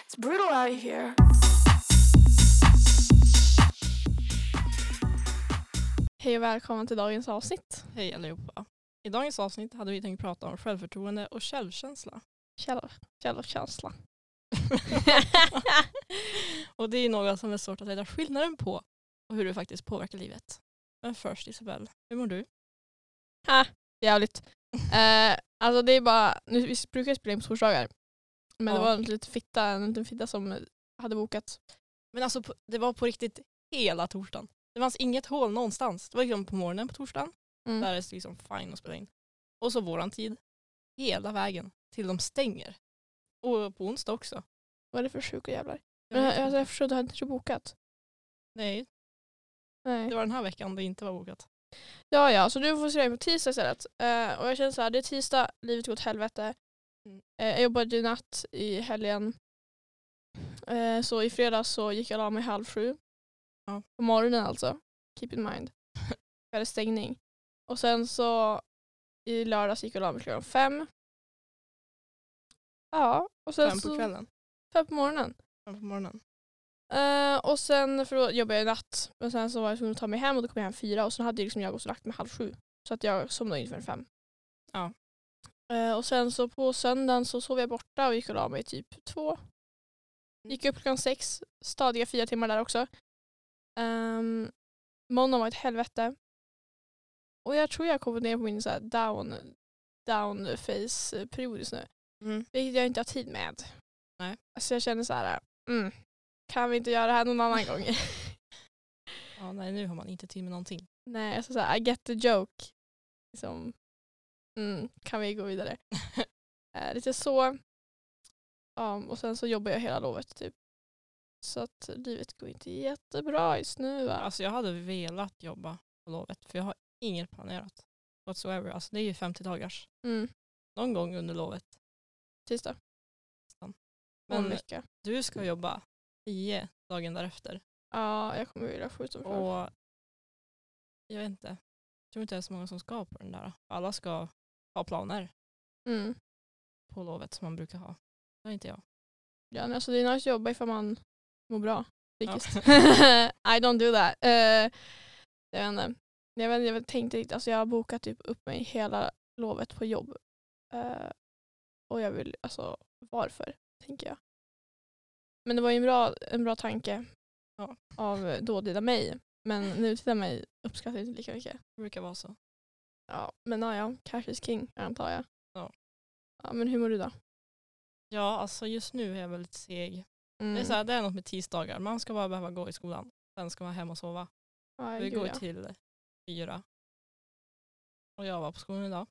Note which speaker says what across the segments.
Speaker 1: out of here. Hej och välkommen till dagens avsnitt.
Speaker 2: Hej allihopa. I dagens avsnitt hade vi tänkt prata om självförtroende och självkänsla.
Speaker 1: Källor, källorkänsla.
Speaker 2: och det är något som är svårt att reda skillnaden på och hur det faktiskt påverkar livet. Men först Isabelle, hur mår du?
Speaker 1: Jävligt. Eh, alltså det är bara, nu, vi brukar spela in på torsdagar. Men det
Speaker 2: Ja.
Speaker 1: var en liten fitta, en liten fitta som hade bokat.
Speaker 2: Men alltså på- det var på riktigt hela torsdagen. Det fanns inget hål någonstans. Det var liksom på morgonen på torsdagen,
Speaker 1: Mm.
Speaker 2: där är det liksom fine att spela in. Och så våran tid, hela vägen till de stänger. Och på onsdag också.
Speaker 1: Vad är det för sjuka jävlar?
Speaker 2: Jag
Speaker 1: Men,
Speaker 2: vet inte.
Speaker 1: alltså, jag förstod, du hade inte bokat.
Speaker 2: Nej,
Speaker 1: Nej.
Speaker 2: det var den här veckan det inte var bokat.
Speaker 1: Ja, ja, så nu fokuserar jag på tisdag istället. Eh, och jag känner så här, det är tisdag, livet går åt helvete.
Speaker 2: Mm.
Speaker 1: Eh, jag jobbade i natt i helgen. Eh, så i fredags så gick jag och la mig halv sju.
Speaker 2: Ja.
Speaker 1: På morgonen alltså. Keep in mind. jag hade stängning. Och sen så i lördags gick jag och la mig klockan fem. Ja, och sen
Speaker 2: Fem på
Speaker 1: så,
Speaker 2: kvällen,
Speaker 1: fem på morgonen.
Speaker 2: fem på morgonen.
Speaker 1: Eh, och sen, för då jobbade jag i natt, men sen så var jag tvungen att ta mig hem och då kom jag hem fyra och sen hade liksom jag också lagt mig halv sju. Så att jag somnade ungefär fem.
Speaker 2: Ja.
Speaker 1: Eh, och sen så på söndagen så sov jag borta och gick och la mig typ två.
Speaker 2: Mm.
Speaker 1: Gick upp klockan sex, stadiga fyra timmar där också. Um, måndagen var ett helvete. Och jag tror jag kommer ner på min så här down, down face period just nu.
Speaker 2: Mm.
Speaker 1: Vilket jag inte har tid med.
Speaker 2: Nej.
Speaker 1: Alltså jag känner så här, mm, kan vi inte göra det här någon annan gång?
Speaker 2: Ja, nej, nu har man inte tid med någonting.
Speaker 1: Nej, alltså så här, I get the joke. Liksom, mm, kan vi gå vidare? eh, lite så. Ja, och sen så jobbar jag hela lovet typ. Så att livet går inte jättebra just nu. Va?
Speaker 2: Alltså jag hade velat jobba på lovet för jag har inget planerat whatsoever. Alltså det är ju 50 dagars
Speaker 1: Mm,
Speaker 2: någon gång under lovet.
Speaker 1: tisdag, om en
Speaker 2: Men
Speaker 1: vecka.
Speaker 2: du ska jobba 10 dagen därefter
Speaker 1: Ja, jag kommer vilja skjuta mig själv.
Speaker 2: och jag vet inte. Jag tror inte det är så många som ska på den där. Alla ska ha planer
Speaker 1: Mm.
Speaker 2: på lovet som man brukar ha. Det har inte jag.
Speaker 1: Ja, men alltså det är nice att jobba ifall man mår bra
Speaker 2: Ja.
Speaker 1: psykiskt. I don't do that. Eh, jag, vet inte. jag vet inte. Jag tänkte inte, alltså jag har bokat typ upp mig hela lovet på jobb. Eh, och jag vill, alltså varför, tänker jag. Men det var ju en bra, en bra tanke
Speaker 2: Ja.
Speaker 1: av eh, dåtida mig. Men nutida mig uppskattar jag inte lika mycket.
Speaker 2: Det brukar vara så.
Speaker 1: Ja, men ja, ja, cash is king antar jag.
Speaker 2: Ja.
Speaker 1: ja men hur mår du då?
Speaker 2: Ja, alltså just nu är jag väldigt seg.
Speaker 1: Mm.
Speaker 2: Det, är så här, det är något med tisdagar. Man ska bara behöva gå i skolan. Sen ska man hem och sova.
Speaker 1: Ja,
Speaker 2: Vi
Speaker 1: gud,
Speaker 2: går
Speaker 1: ja.
Speaker 2: till fyra. Och jag var på skolan idag.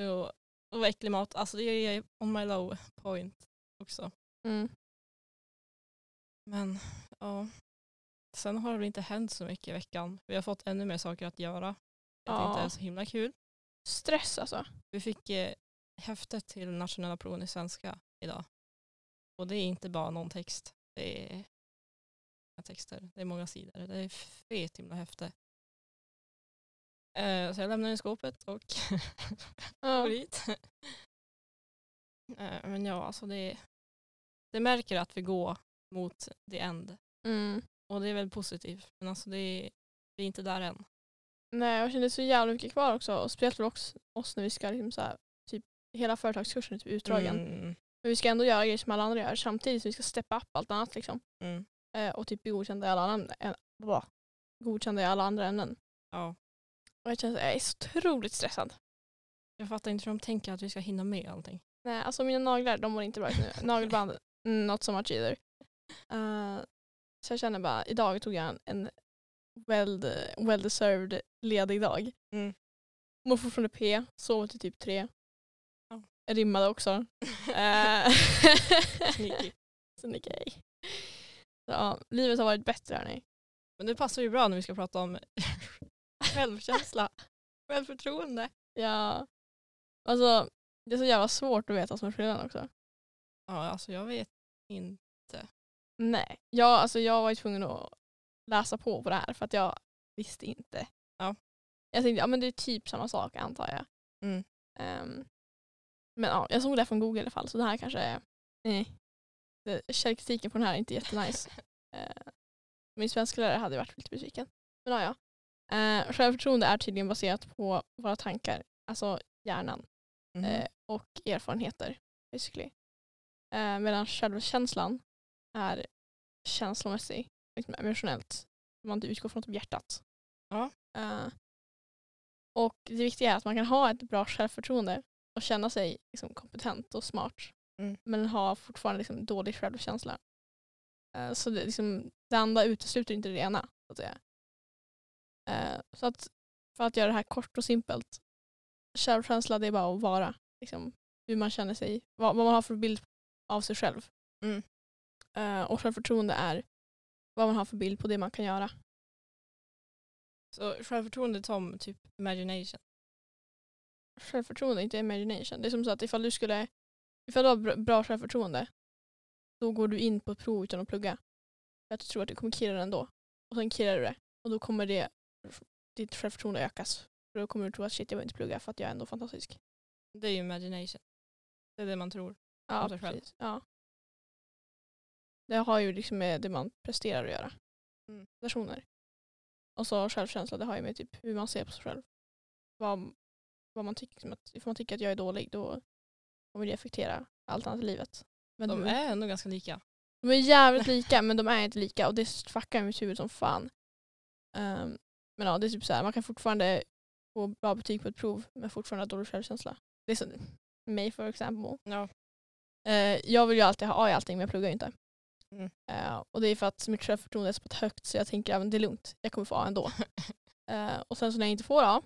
Speaker 2: Så, och var äcklig mat. Alltså det är on my low point också.
Speaker 1: Mm.
Speaker 2: Men ja. Sen har det väl inte hänt så mycket i veckan. Vi har fått ännu mer saker att göra. Det
Speaker 1: Ja.
Speaker 2: inte är så himla kul.
Speaker 1: Stress alltså.
Speaker 2: Vi fick eh, häftet till nationella proven i svenska idag. Och det är inte bara någon text. Det är många texter. Det är många sidor. Det är fet himla häfte. Eh, så jag lämnar den i skåpet och
Speaker 1: Ja.
Speaker 2: går dit. Eh, men ja, alltså det, det märker att vi går mot the end.
Speaker 1: Mm.
Speaker 2: Och det är väl positivt. Men alltså det är, vi är inte där än.
Speaker 1: Nej, jag kände så jävla mycket kvar också. Och speciellt för oss, oss när vi ska liksom så här, typ, hela företagskursen är typ utdragen.
Speaker 2: Mm,
Speaker 1: Men vi ska ändå göra grejer som alla andra gör samtidigt som vi ska steppa upp allt annat. Liksom.
Speaker 2: mm.
Speaker 1: Eh, och typ bli godkända i alla, andra, ä, blah, godkända i alla andra ämnen.
Speaker 2: Ja.
Speaker 1: Och jag känner att jag är så otroligt stressad.
Speaker 2: Jag fattar inte hur de tänker att vi ska hinna med allting.
Speaker 1: Nej, alltså mina naglar, de mår inte bra just nu. Nagelband, mm, not so much either. Eh, så jag känner bara, idag tog jag en, en well, well deserved ledig dag.
Speaker 2: Mm.
Speaker 1: Mår fortfarande P, sover till typ tre.
Speaker 2: Ja.
Speaker 1: Rimmade också. Eh,
Speaker 2: Sneaky.
Speaker 1: Sneaky. Så, ja, livet har varit bättre hörni.
Speaker 2: Men det passar ju bra när vi ska prata om självkänsla, självförtroende.
Speaker 1: Ja. Alltså, det är så jävla svårt att veta vad som är skillnaden också.
Speaker 2: Ja, alltså jag vet inte.
Speaker 1: Nej, jag, alltså, jag var ju tvungen att läsa på på det här för att jag visste inte.
Speaker 2: Ja.
Speaker 1: Jag tänkte, ja men det är typ samma sak antar jag.
Speaker 2: Mm.
Speaker 1: Ehm, men ja, jag såg det här från Google i alla fall så det här kanske är... Nej. det- Källkritiken på den här är inte jättenice. Eh, Min svenska lärare hade varit lite besviken. Men ja, ja. Eh, Självförtroende är tydligen baserat på våra tankar, alltså hjärnan
Speaker 2: Mm.
Speaker 1: eh, och erfarenheter. Basically. Eh, medan självkänslan är känslomässig, liksom emotionellt. Man utgår från typ hjärtat.
Speaker 2: Ja.
Speaker 1: Eh, och det viktiga är att man kan ha ett bra självförtroende och känna sig liksom, kompetent och smart.
Speaker 2: Mm.
Speaker 1: Men ha fortfarande liksom, dålig självkänsla. Eh, så det, liksom, det andra utesluter inte det ena. Så att, säga. Eh, så att för att göra det här kort och simpelt självkänsla det är bara att vara. Liksom, hur man känner sig, vad, vad man har för bild av sig själv.
Speaker 2: Mm.
Speaker 1: Eh, och självförtroende är vad man har för bild på det man kan göra.
Speaker 2: Så självförtroende som typ imagination.
Speaker 1: Självförtroende, inte imagination. Det är som så att ifall du skulle ifall du har br- bra självförtroende då går du in på ett prov utan att plugga. För att du tror att du kommer killa det ändå. Och sen killar du det. Och då kommer det, ditt självförtroende ökas. För då kommer du tro att shit jag behöver inte plugga för att jag är ändå fantastisk.
Speaker 2: Det är ju imagination. Det är det man tror.
Speaker 1: Ja,
Speaker 2: om sig själv.
Speaker 1: precis. Ja. Det har ju liksom med det man presterar att göra.
Speaker 2: Mm.
Speaker 1: Prestationer. Och så självkänsla, det har ju med typ hur man ser på sig själv. Vad, vad man tycker, liksom att, ifall man tycker att jag är dålig då kommer det affektera allt annat i livet. Men
Speaker 2: De
Speaker 1: de,
Speaker 2: är ändå ganska lika.
Speaker 1: de är jävligt lika men de är inte lika och det fuckar med mitt huvud som fan. Ehm, men ja, det är typ så här, man kan fortfarande få bra betyg på ett prov men fortfarande ha dålig självkänsla. Det är som mig för exempel.
Speaker 2: Ja.
Speaker 1: Eh, jag vill ju alltid ha A i allting men jag pluggar ju inte.
Speaker 2: Mm.
Speaker 1: Eh, och det är för att mitt självförtroende är så pass högt så jag tänker att det är lugnt, jag kommer få A ändå. Eh, och sen så när jag inte får A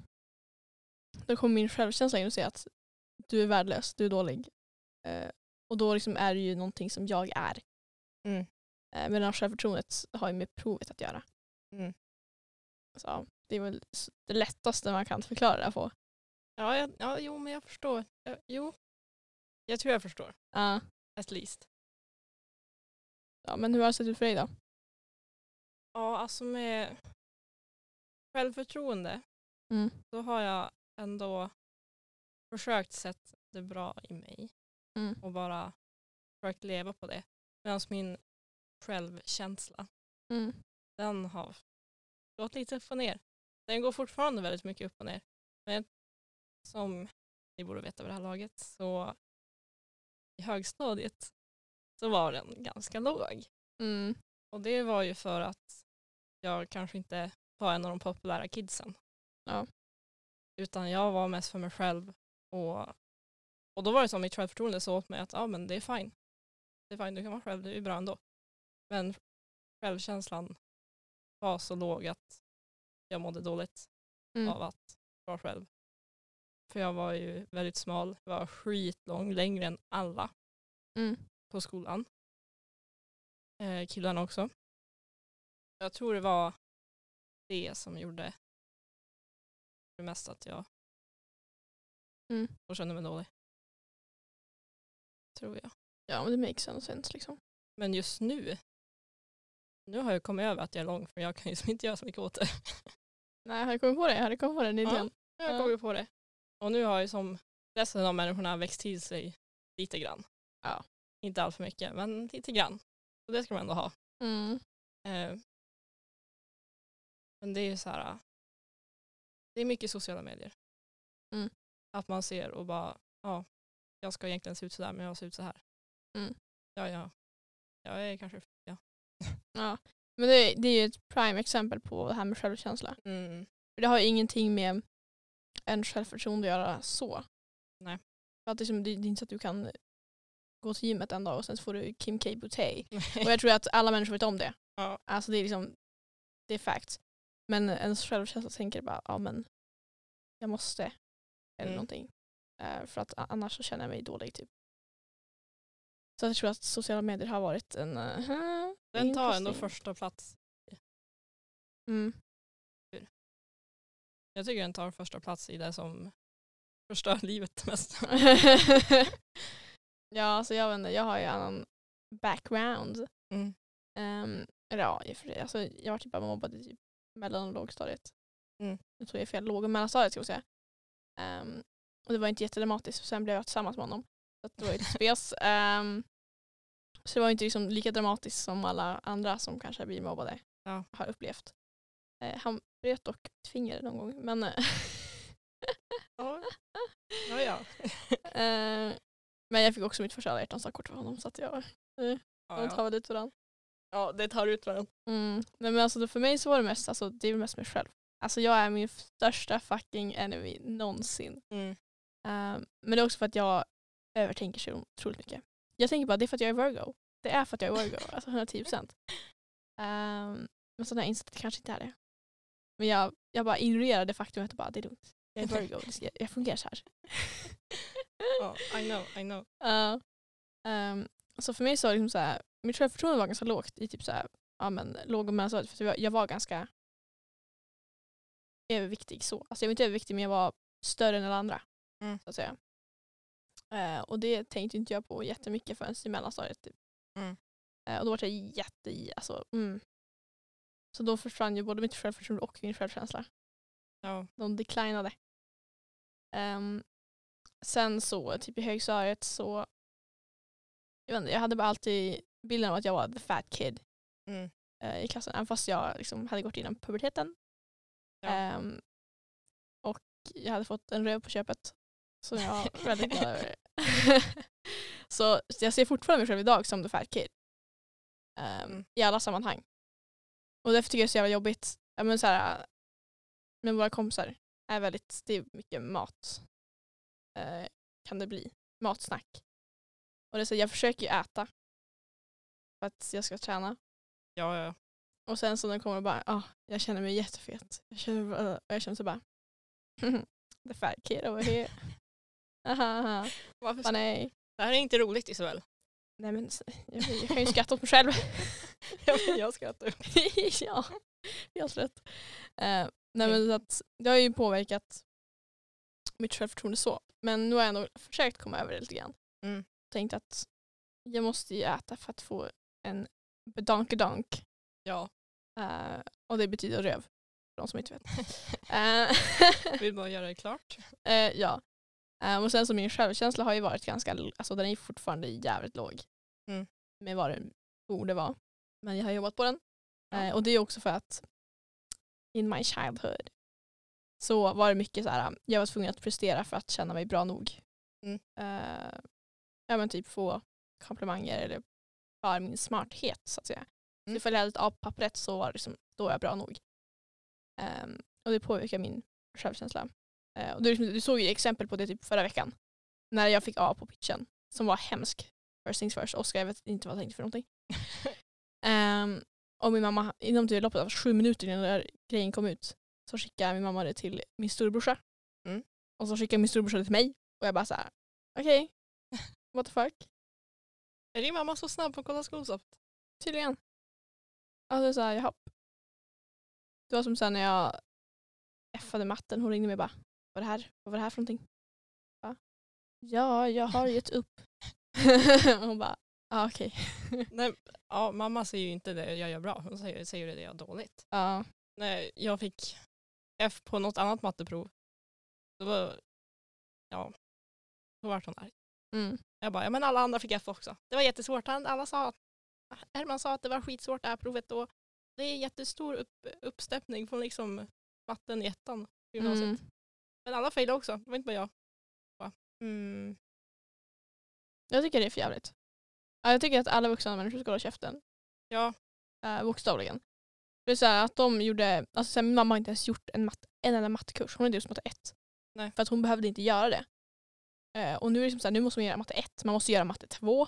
Speaker 1: då kommer min självkänsla in och säga att du är värdelös, du är dålig. Eh, och då liksom är det ju någonting som jag är.
Speaker 2: Mm.
Speaker 1: Eh, medan självförtroendet har ju med provet att göra.
Speaker 2: Mm.
Speaker 1: Så ja, det är väl s- det lättaste man kan förklara det här på.
Speaker 2: Ja, jag, ja, jo, men jag förstår. Ja, jo. Jag tror jag förstår.
Speaker 1: Ja.
Speaker 2: At least.
Speaker 1: ja, men hur har det sett ut för dig då?
Speaker 2: Ja, alltså med självförtroende
Speaker 1: Mm.
Speaker 2: då har jag ändå försökt sett det bra i mig
Speaker 1: Mm.
Speaker 2: och bara försökt leva på det. Medan min självkänsla,
Speaker 1: Mm.
Speaker 2: den har gått lite upp och ner. Den går fortfarande väldigt mycket upp och ner. Men jag- som ni borde veta vid det här laget så i högstadiet så var den ganska låg.
Speaker 1: Mm.
Speaker 2: Och det var ju för att jag kanske inte var en av de populära kidsen.
Speaker 1: Ja.
Speaker 2: Utan jag var mest för mig själv. Och, och då var det som mitt självförtroende sa åt mig att ah, men det är fine. Det är fine, du kan vara själv, det är bra ändå. Men självkänslan var så låg att jag mådde dåligt
Speaker 1: Mm.
Speaker 2: av att vara själv. För jag var ju väldigt smal, jag var skitlång, längre än alla
Speaker 1: Mm.
Speaker 2: på skolan. Eh, killarna också. Jag tror det var det som gjorde det mest att jag
Speaker 1: Mm.
Speaker 2: då kände mig dålig. Tror jag.
Speaker 1: Ja, men det makes sense, sense liksom.
Speaker 2: Men just nu, nu har jag kommit över att jag är lång för jag kan ju som inte göra så mycket åt det.
Speaker 1: Nej, jag hade kommit på det. Jag hade kommit på den idén.
Speaker 2: Jag
Speaker 1: Ja.
Speaker 2: kom ju på det. Och nu har ju som resten av människorna växt till sig lite grann.
Speaker 1: Ja.
Speaker 2: Inte allt för mycket, men lite grann. Så det ska man ändå ha.
Speaker 1: Mm.
Speaker 2: Eh, Men det är ju så här. Det är mycket sociala medier.
Speaker 1: Mm.
Speaker 2: Att man ser och bara, ja, jag ska egentligen se ut så där men jag ser ut så här.
Speaker 1: Mm.
Speaker 2: Ja, ja. Jag är kanske ja.
Speaker 1: Ja. Men det, det är ju ett prime exempel på det här med självkänsla.
Speaker 2: Mm.
Speaker 1: För det har ju ingenting med en självförtroende att göra så.
Speaker 2: Nej.
Speaker 1: För att liksom, det, det är inte så att du kan gå till gymmet en dag och sen så får du Kim K. Boutet. Och jag tror att alla människor vet om det.
Speaker 2: Ja.
Speaker 1: Alltså det är liksom, det är fact. Men ens självkänsla tänker bara, ja men jag måste. Eller
Speaker 2: Mm.
Speaker 1: någonting. Eh, för att a- annars så känner jag mig dålig typ. Så jag tror att sociala medier har varit en... eh,
Speaker 2: Den tar ändå
Speaker 1: interesting.
Speaker 2: första plats.
Speaker 1: Mm.
Speaker 2: Jag tycker den tar första plats i det som förstör livet mest.
Speaker 1: ja, alltså jag vet inte, jag har ju annan background.
Speaker 2: Mm.
Speaker 1: Ehm, eller ja, i och för sig, alltså, jag var typ bara mobbad i typ mellan och lågstadiet.
Speaker 2: Mm.
Speaker 1: Jag tror jag är fel, låg och mellanstadiet ska jag säga. Ehm, och det var inte jättedramatiskt, för sen blev jag tillsammans med honom. Så att det var ju ett spes. Ehm, Så det var inte liksom lika dramatiskt som alla andra som kanske blir mobbade
Speaker 2: Ja.
Speaker 1: har upplevt. Eh, han bröt dock ett finger någon gång. Men, eh,
Speaker 2: Ja. Ja, ja.
Speaker 1: eh, men jag fick också mitt första alla hjärtans kort för honom så att jag, de tar väl ut varandra.
Speaker 2: ja, det tar ut varandra.
Speaker 1: Mm. Nej, men alltså, för mig så var det mest, alltså, det är väl mest mig själv. Alltså jag är min största fucking enemy någonsin.
Speaker 2: Mm.
Speaker 1: Eh, men det är också för att jag övertänker så otroligt mycket. Jag tänker bara det är för att jag är Virgo. Det är för att jag är Virgo, alltså 110 procent. Eh, men sen har jag insett att det kanske inte är det. Men jag, jag bara ignorerar det faktum att jag bara, det är lugnt. Jag är Virgo, det ska, jag fungerar så här.
Speaker 2: Ja, I know, I know.
Speaker 1: Ja. Ehm, så för mig så var det liksom så här, mitt självförtroende var ganska lågt i typ så här, ja, men, låg och mellanstadiet. För att jag, var- jag var ganska överviktig så. Alltså jag var inte överviktig men jag var större än alla andra.
Speaker 2: Mm.
Speaker 1: Så att säga. Eh, och det tänkte inte jag på jättemycket förrän i mellanstadiet. Typ.
Speaker 2: Mm.
Speaker 1: Eh, och då var jag jätte, alltså, mm. Så då försvann ju både mitt självförtroende och min självkänsla.
Speaker 2: Ja.
Speaker 1: De declinade. Ehm, sen så, typ i högstadiet så, jag vet inte, jag hade bara alltid bilden av att jag var the fat kid
Speaker 2: Mm.
Speaker 1: eh, i klassen, även fast jag liksom hade gått igenom puberteten.
Speaker 2: Ja.
Speaker 1: Ehm, och jag hade fått en röv på köpet som jag var väldigt glad över. så jag ser fortfarande mig själv idag som the fat kid. Ehm,
Speaker 2: Mm.
Speaker 1: I alla sammanhang. Och därför tycker jag det är så jävla jobbigt. Ja, men så här, med våra kompisar är väldigt, det är mycket mat. Eh, kan det bli. Matsnack. Och det är så, jag försöker ju äta. För att jag ska träna.
Speaker 2: Ja, ja.
Speaker 1: Och sen så när de kommer och bara, ah, jag känner mig jättefet. Jag känner, bara- och jag känner så bara, the fat kid over here. Aha, aha.
Speaker 2: Varför
Speaker 1: Bara, nej.
Speaker 2: Det här är inte roligt Isabel.
Speaker 1: Nej men s- jag, jag kan ju skratta åt mig själv.
Speaker 2: Ja, men jag skrattar.
Speaker 1: ja, helt rätt. Eh, nej, men så att, det har ju påverkat mitt självförtroende så. Men nu har jag ändå försökt komma över det lite grann.
Speaker 2: Mm.
Speaker 1: Tänkt att jag måste ju äta för att få en bedankedonk.
Speaker 2: Ja,
Speaker 1: Eh, och det betyder röv, för de som inte vet.
Speaker 2: vill bara göra det klart.
Speaker 1: Eh, eh, ja. Eh, och sen så min självkänsla har ju varit ganska, l- alltså den är ju fortfarande jävligt låg.
Speaker 2: Mm.
Speaker 1: Med vad den borde vara. Men jag har jobbat på den.
Speaker 2: Ja.
Speaker 1: Eh, och det är också för att in my childhood så var det mycket så här, um, jag var tvungen att prestera för att känna mig bra nog.
Speaker 2: Mm.
Speaker 1: Eh, ja men typ få komplimanger eller bara min smarthet så att säga. Så
Speaker 2: Mm.
Speaker 1: ifall jag hade ett A på pappret så var det liksom, då var jag bra nog. Ehm, och det påverkar min självkänsla. Eh, och du, du såg ju exempel på det typ förra veckan. När jag fick A på pitchen som var hemsk. First things first. Oskar, jag vet inte vad jag tänkte för någonting. Ehm, och min mamma, inom det loppet av sju minuter innan den där grejen kom ut så skickade min mamma det till min storebrorsa.
Speaker 2: Mm.
Speaker 1: Och så skickade min storebrorsa det till mig. Och jag bara så här: okej, what the fuck.
Speaker 2: Är din mamma så snabb på att kolla skolsoft?
Speaker 1: Tydligen. Alltså så här, jaha. Det var som sen när jag effade matten. Hon ringde mig och bara, vad var det här, vad var det här för någonting? Jag bara, ja, jag har gett upp. hon bara, ja ah, okej.
Speaker 2: Nej, ja, mamma säger ju inte det jag gör bra, hon säger, säger det jag gör dåligt.
Speaker 1: Ja.
Speaker 2: Nej, jag fick F på något annat matteprov. Då var, ja, då vart hon arg.
Speaker 1: Mm.
Speaker 2: Jag bara, ja men alla andra fick F också. Det var jättesvårt. Han- Alla sa, att- Herman sa att det var skitsvårt det här provet då. Det är jättestor upp, uppsteppning från liksom matten i ettan på gymnasiet.
Speaker 1: Mm.
Speaker 2: Men alla failade också, det var inte bara jag. Bara, mm,
Speaker 1: Jag tycker det är för jävligt. Ja, jag tycker att alla vuxna människor ska hålla käften.
Speaker 2: ja,
Speaker 1: Eh, bokstavligen. Det är så här att de gjorde, alltså så här, min mamma har inte ens gjort en, matt, en enda mattekurs. Hon har inte gjort matte 1.
Speaker 2: Nej.
Speaker 1: För att hon behövde inte göra det. Eh, och nu är det som så här, nu måste man göra matte 1, man måste göra matte 2.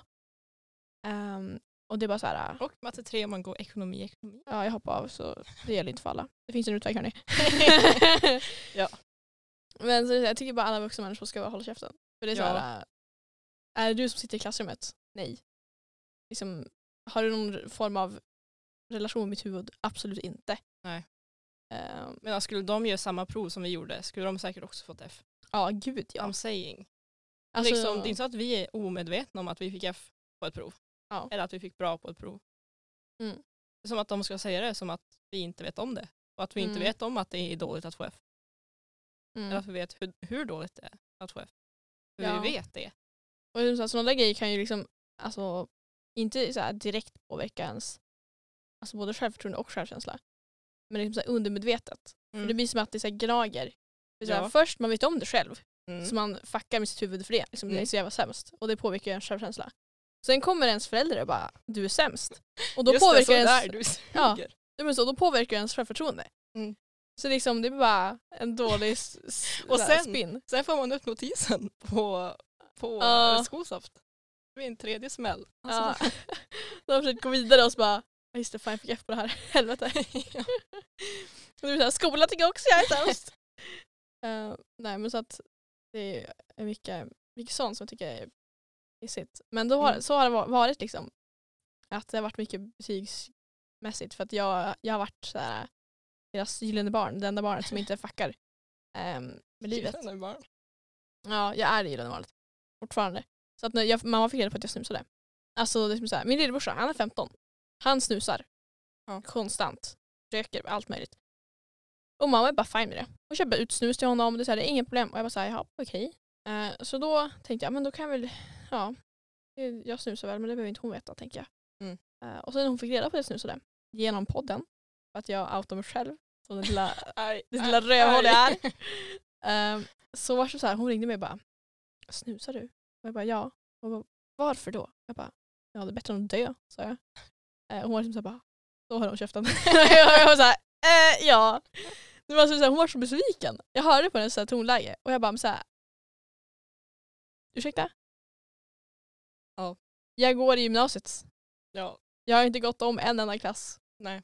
Speaker 1: Ehm, och det är bara så här,
Speaker 2: och matte 3 om man går ekonomi, ekonomi.
Speaker 1: ja jag hoppar av så det gäller inte för alla. Det finns en utväg hörni.
Speaker 2: Ja.
Speaker 1: Men så, jag tycker bara alla vuxna människor ska bara hålla käften. För det är så
Speaker 2: Ja.
Speaker 1: här, eh, är det du som sitter i klassrummet? Nej. Liksom, har du någon form av relation med mitt huvud? Absolut inte.
Speaker 2: Nej.
Speaker 1: Ehm,
Speaker 2: Men ja, skulle de göra samma prov som vi gjorde skulle de säkert också fått F.
Speaker 1: Ja, gud ja.
Speaker 2: I'm saying.
Speaker 1: Alltså,
Speaker 2: liksom, det är inte så att vi är omedvetna om att vi fick F på ett prov.
Speaker 1: Ja.
Speaker 2: Eller att vi fick bra på ett prov.
Speaker 1: Mm.
Speaker 2: Det är Som att de ska säga det som att vi inte vet om det. Och att vi inte
Speaker 1: Mm.
Speaker 2: vet om att det är dåligt att få F. Eller
Speaker 1: mm.
Speaker 2: att vi vet hur, hur dåligt det är att få F. För
Speaker 1: Ja.
Speaker 2: vi vet det.
Speaker 1: Och sådana där grejer kan ju liksom alltså, inte så här direkt påverka ens alltså både självförtroende och självkänsla. Men liksom så här undermedvetet.
Speaker 2: Mm.
Speaker 1: För det blir som att det så här gnager. För så här,
Speaker 2: Ja.
Speaker 1: Först man vet om det själv
Speaker 2: Mm.
Speaker 1: så man fuckar med sitt huvud för det. Liksom, Det är
Speaker 2: Mm.
Speaker 1: så jävla sämst. Och det påverkar ju ens självkänsla. Sen kommer ens föräldrar och bara du är sämst. Och då
Speaker 2: Just det,
Speaker 1: påverkar
Speaker 2: så
Speaker 1: ens,
Speaker 2: där du
Speaker 1: Ja.
Speaker 2: suger.
Speaker 1: Nej, men så, då påverkar ens självförtroende.
Speaker 2: Mm.
Speaker 1: Så liksom det är bara en dålig s- s-
Speaker 2: Och
Speaker 1: så här
Speaker 2: sen-
Speaker 1: spinn.
Speaker 2: Sen får man upp notisen på, på
Speaker 1: Ja.
Speaker 2: uh. Skosaft. Det blir en tredje smäll.
Speaker 1: Ja.
Speaker 2: Alltså,
Speaker 1: De har försökt gå vidare och så bara "Ja, just det, fan jag fick F på det här. Helvete. och det blir så här, skolan tycker också jag är sämst. Eh, nej men så att det är mycket, mycket sånt som jag tycker är pissigt. Men då har,
Speaker 2: Mm.
Speaker 1: så har det va- varit liksom. Att det har varit mycket betygsmässigt för att jag, jag har varit så här, deras gyllene barn, det enda barnet som inte fuckar eh, med livet.
Speaker 2: Tydligen är det barn.
Speaker 1: Ja, jag är i gyllene valet. Fortfarande. Så att när jag, mamma fick reda på att jag snusade. Alltså det är som så här, min lillebrorsa, han är 15. Han snusar.
Speaker 2: Ja.
Speaker 1: Konstant. Röker, allt möjligt. Och mamma är bara fine med det. Hon köper ut snus till honom. Det är, så här, det är inget problem. Och jag bara såhär, jaha okej. Eh, så då tänkte jag, men då kan jag väl, ja. eh, Jag snusar väl men det behöver inte hon veta tänker jag.
Speaker 2: Mm.
Speaker 1: Eh, och sen när hon fick reda på att jag snusade. Genom podden. För att jag outade mig själv. Som den lilla
Speaker 2: Aj,
Speaker 1: det
Speaker 2: aj,
Speaker 1: lilla rövhål det är.
Speaker 2: aj.
Speaker 1: Ehm, så var det så här, hon ringde mig och bara, snusar du? Och jag bara ja. Hon bara, varför då? Jag bara, ja det är bättre än att dö, sa jag. Eh, hon var liksom så här, bara, då höll hon käften. jag var så här, eh, ja. Det var så här, hon var så besviken. Jag hörde på hennes så här tonläge och jag bara, men så här, ursäkta?
Speaker 2: Ja.
Speaker 1: Jag går i gymnasiet.
Speaker 2: Ja,
Speaker 1: Jag har inte gått om en enda klass.
Speaker 2: nej.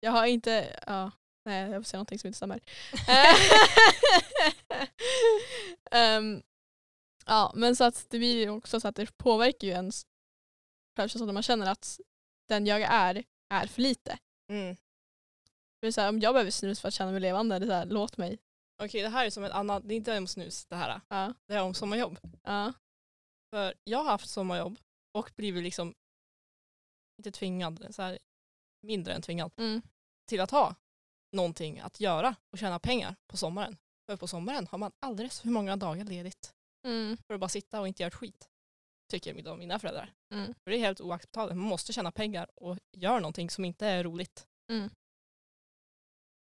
Speaker 1: Jag har inte, ja, nej jag får säga någonting som inte stämmer. Ehm, ja men så att det blir ju också så att det påverkar ju ens självkänsla när man känner att den jag är, är för lite.
Speaker 2: Mm.
Speaker 1: För det är så här, om jag behöver snus för att känna mig levande, det är så här, låt mig.
Speaker 2: Okej, det här är som en annan, det är inte om snus det här.
Speaker 1: Ja,
Speaker 2: Det är om sommarjobb.
Speaker 1: ja,
Speaker 2: För jag har haft sommarjobb och blivit liksom, inte tvingad, så här, mindre än tvingad,
Speaker 1: mm,
Speaker 2: till att ha någonting att göra och tjäna pengar på sommaren. För på sommaren har man alldeles för många dagar ledigt
Speaker 1: mm,
Speaker 2: för att bara sitta och inte göra ett skit. Tycker mina- mina föräldrar.
Speaker 1: mm,
Speaker 2: För det är helt oacceptabelt. Man måste tjäna pengar och göra någonting som inte är roligt.
Speaker 1: Mm.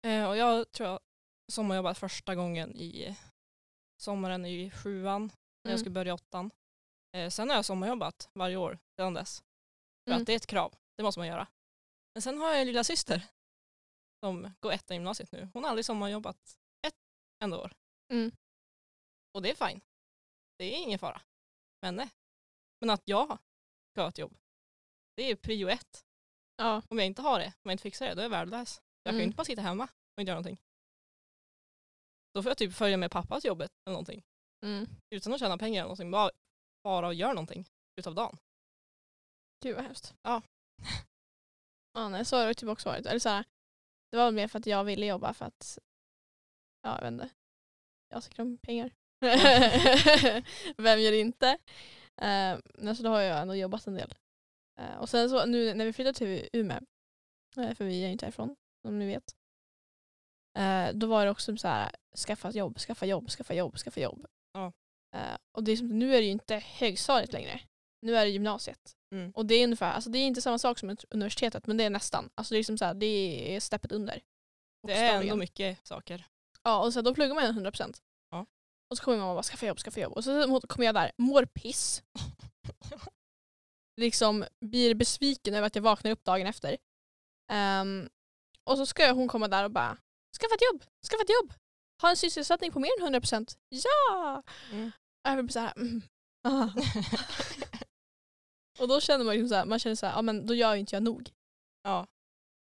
Speaker 2: Eh, och jag tror jag sommarjobbade första gången i sommaren i sjuan när
Speaker 1: Mm.
Speaker 2: jag skulle börja åttan. Eh, sen har jag sommarjobbat varje år sedan dess. För
Speaker 1: Mm.
Speaker 2: att det är ett krav, det måste man göra. Men sen har jag en lilla syster som går ettan i gymnasiet nu. Hon har aldrig sommarjobbat ett enda år.
Speaker 1: Mm.
Speaker 2: Och det är fine. Det är ingen fara. Men nej. Men att jag ska ha ett jobb, det är prio ett.
Speaker 1: ja,
Speaker 2: Om jag inte har det, om jag inte fixar det, då är jag värdelös. Jag kan ju
Speaker 1: Mm.
Speaker 2: inte bara sitta hemma och inte göra någonting. Då får jag typ följa med pappa till jobbet eller någonting
Speaker 1: mm.
Speaker 2: utan att tjäna pengar eller någonting, bara, bara att göra någonting utav dagen.
Speaker 1: Gud vad hemskt.
Speaker 2: Ja.
Speaker 1: ja nej, så har det typ också varit. Eller så här, det var väl mer för att jag ville jobba för att, ja jag vet inte, jag tycker om pengar. Vem gör inte? Eh, men så då har jag ändå jobbat en del. Eh, och sen så nu när vi flyttade till Umeå, eh, för vi är inte härifrån som ni vet, eh, då var det också så här, skaffa ett jobb, skaffa jobb, skaffa jobb, skaffa jobb.
Speaker 2: Ja.
Speaker 1: Eh, och det är som, nu är det ju inte högstadiet längre. Nu är det gymnasiet.
Speaker 2: Mm.
Speaker 1: Och det är ungefär, alltså det är inte samma sak som ett universitetet men det är nästan. Alltså det är liksom så här, det är steppet under.
Speaker 2: Det är ändå
Speaker 1: Bokstavligen.
Speaker 2: mycket saker.
Speaker 1: Ja och så här, då pluggar man 100%.
Speaker 2: Ja.
Speaker 1: Och så kommer man och bara skaffa jobb, skaffa jobb. Och så kommer jag där, mår piss. liksom blir besviken över att jag vaknar upp dagen efter. Ehm, och så ska hon komma där och bara skaffa ett jobb, skaffa ett jobb. Ha en sysselsättning på mer än 100%. Ja!
Speaker 2: Mm.
Speaker 1: Och jag blir så här, mm. ah. Och då känner man liksom så här, man känner så här, ja men då gör ju inte jag nog.
Speaker 2: Ja.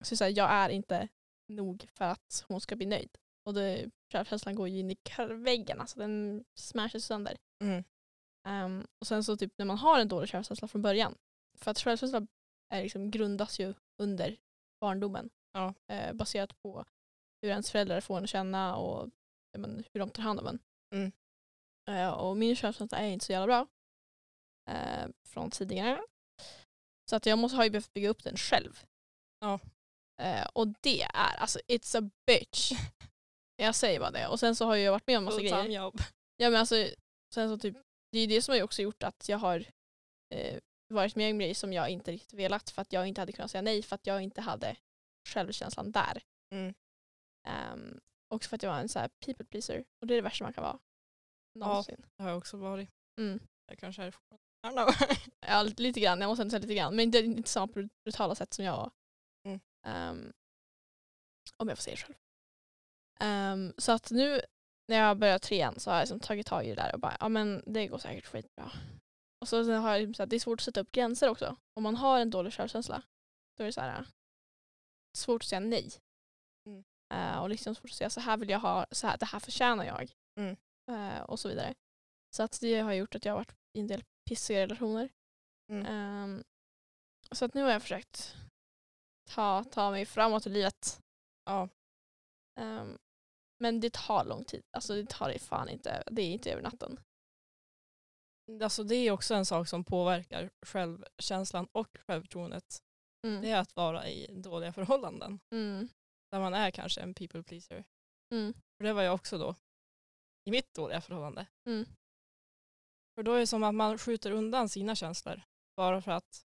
Speaker 1: Så så här, jag är inte nog för att hon ska bli nöjd. Och det, självkänslan går ju in i väggen, alltså den smashes sönder.
Speaker 2: Mm.
Speaker 1: Ehm, och sen så typ när man har en dålig självkänsla från början, för att självkänsla är liksom, grundas ju under barndomen.
Speaker 2: Ja.
Speaker 1: Eh, baserat på hur ens föräldrar får en att känna och ja, men, hur de tar hand om en.
Speaker 2: Mm.
Speaker 1: Eh, och min självkänsla är inte så jävla bra eh, från tidigare. Så att jag måste, har ju behövt bygga upp den själv.
Speaker 2: Ja.
Speaker 1: Eh, och det är, alltså it's a bitch. jag säger bara det. Och sen så har jag varit med om massa grejer.
Speaker 2: Fulltime jobb.
Speaker 1: Ja men alltså, sen så typ, det är ju det som har ju också gjort att jag har eh, varit med om grejer som jag inte riktigt velat för att jag inte hade kunnat säga nej för att jag inte hade självkänslan där.
Speaker 2: Mm.
Speaker 1: Ehm, också för att jag var en så här people pleaser och det är det värsta man kan vara. Någonsin.
Speaker 2: Det har jag också varit.
Speaker 1: Mm.
Speaker 2: Jag kanske är fortfarande. I don't know.
Speaker 1: Ja, lite grann. Jag måste ändå säga lite grann. Men inte, inte samma brut- brutala sätt som jag var.
Speaker 2: Mm.
Speaker 1: Ehm, om jag får säga det själv. Ehm, så att nu när jag börjar trean så har jag liksom tagit tag i det där och bara, ja men det går säkert skitbra. Och så sen har jag liksom så här, det är svårt att sätta upp gränser också. Om man har en dålig självkänsla då är det så här svårt att säga nej.
Speaker 2: Mm.
Speaker 1: Eh, och liksom svårt att säga så här vill jag ha, så här, det här förtjänar jag.
Speaker 2: Mm.
Speaker 1: Eh, och så vidare. Så att det har gjort att jag har varit i en del pissiga relationer.
Speaker 2: Mm.
Speaker 1: Ehm, så att nu har jag försökt ta, ta mig framåt i livet.
Speaker 2: Ja.
Speaker 1: Ehm, men det tar lång tid. Alltså det tar det fan inte. Det är inte över natten.
Speaker 2: Alltså det är också en sak som påverkar självkänslan och självförtroendet.
Speaker 1: Mm.
Speaker 2: Det är att vara i dåliga förhållanden.
Speaker 1: Mm.
Speaker 2: Där man är kanske en people pleaser.
Speaker 1: Mm.
Speaker 2: För det var jag också då. I mitt dåliga förhållande.
Speaker 1: Mm.
Speaker 2: För då är det som att man skjuter undan sina känslor. Bara för att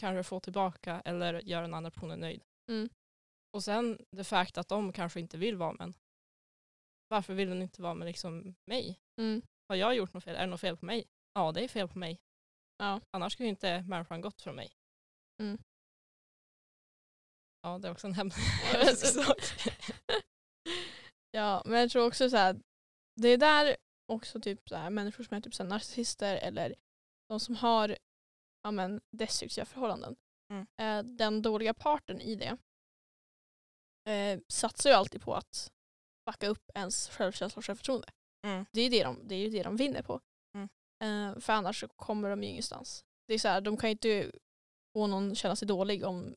Speaker 2: kanske få tillbaka eller göra den andra personen nöjd.
Speaker 1: Mm.
Speaker 2: Och sen det fakt att de kanske inte vill vara med en. Varför vill de inte vara med liksom mig?
Speaker 1: Mm.
Speaker 2: Har jag gjort något fel? Är det något fel på mig? Ja, det är fel på mig.
Speaker 1: Ja.
Speaker 2: Annars skulle ju inte människan gått från mig.
Speaker 1: Mm.
Speaker 2: Ja, det är också en hemsk
Speaker 1: Ja, men-
Speaker 2: sak.
Speaker 1: Ja, men jag tror också så här, det är där också typ så här, människor som är typ så här narcissister eller de som har ja, men, destruktiva förhållanden.
Speaker 2: Mm.
Speaker 1: Eh, den dåliga parten i det eh, satsar ju alltid på att backa upp ens självkänsla och självförtroende.
Speaker 2: Mm.
Speaker 1: Det är ju det de, det är ju det de vinner på.
Speaker 2: Mm.
Speaker 1: Eh, för annars så kommer de ju ingenstans. Det är så här, de kan ju inte få någon att känna sig dålig om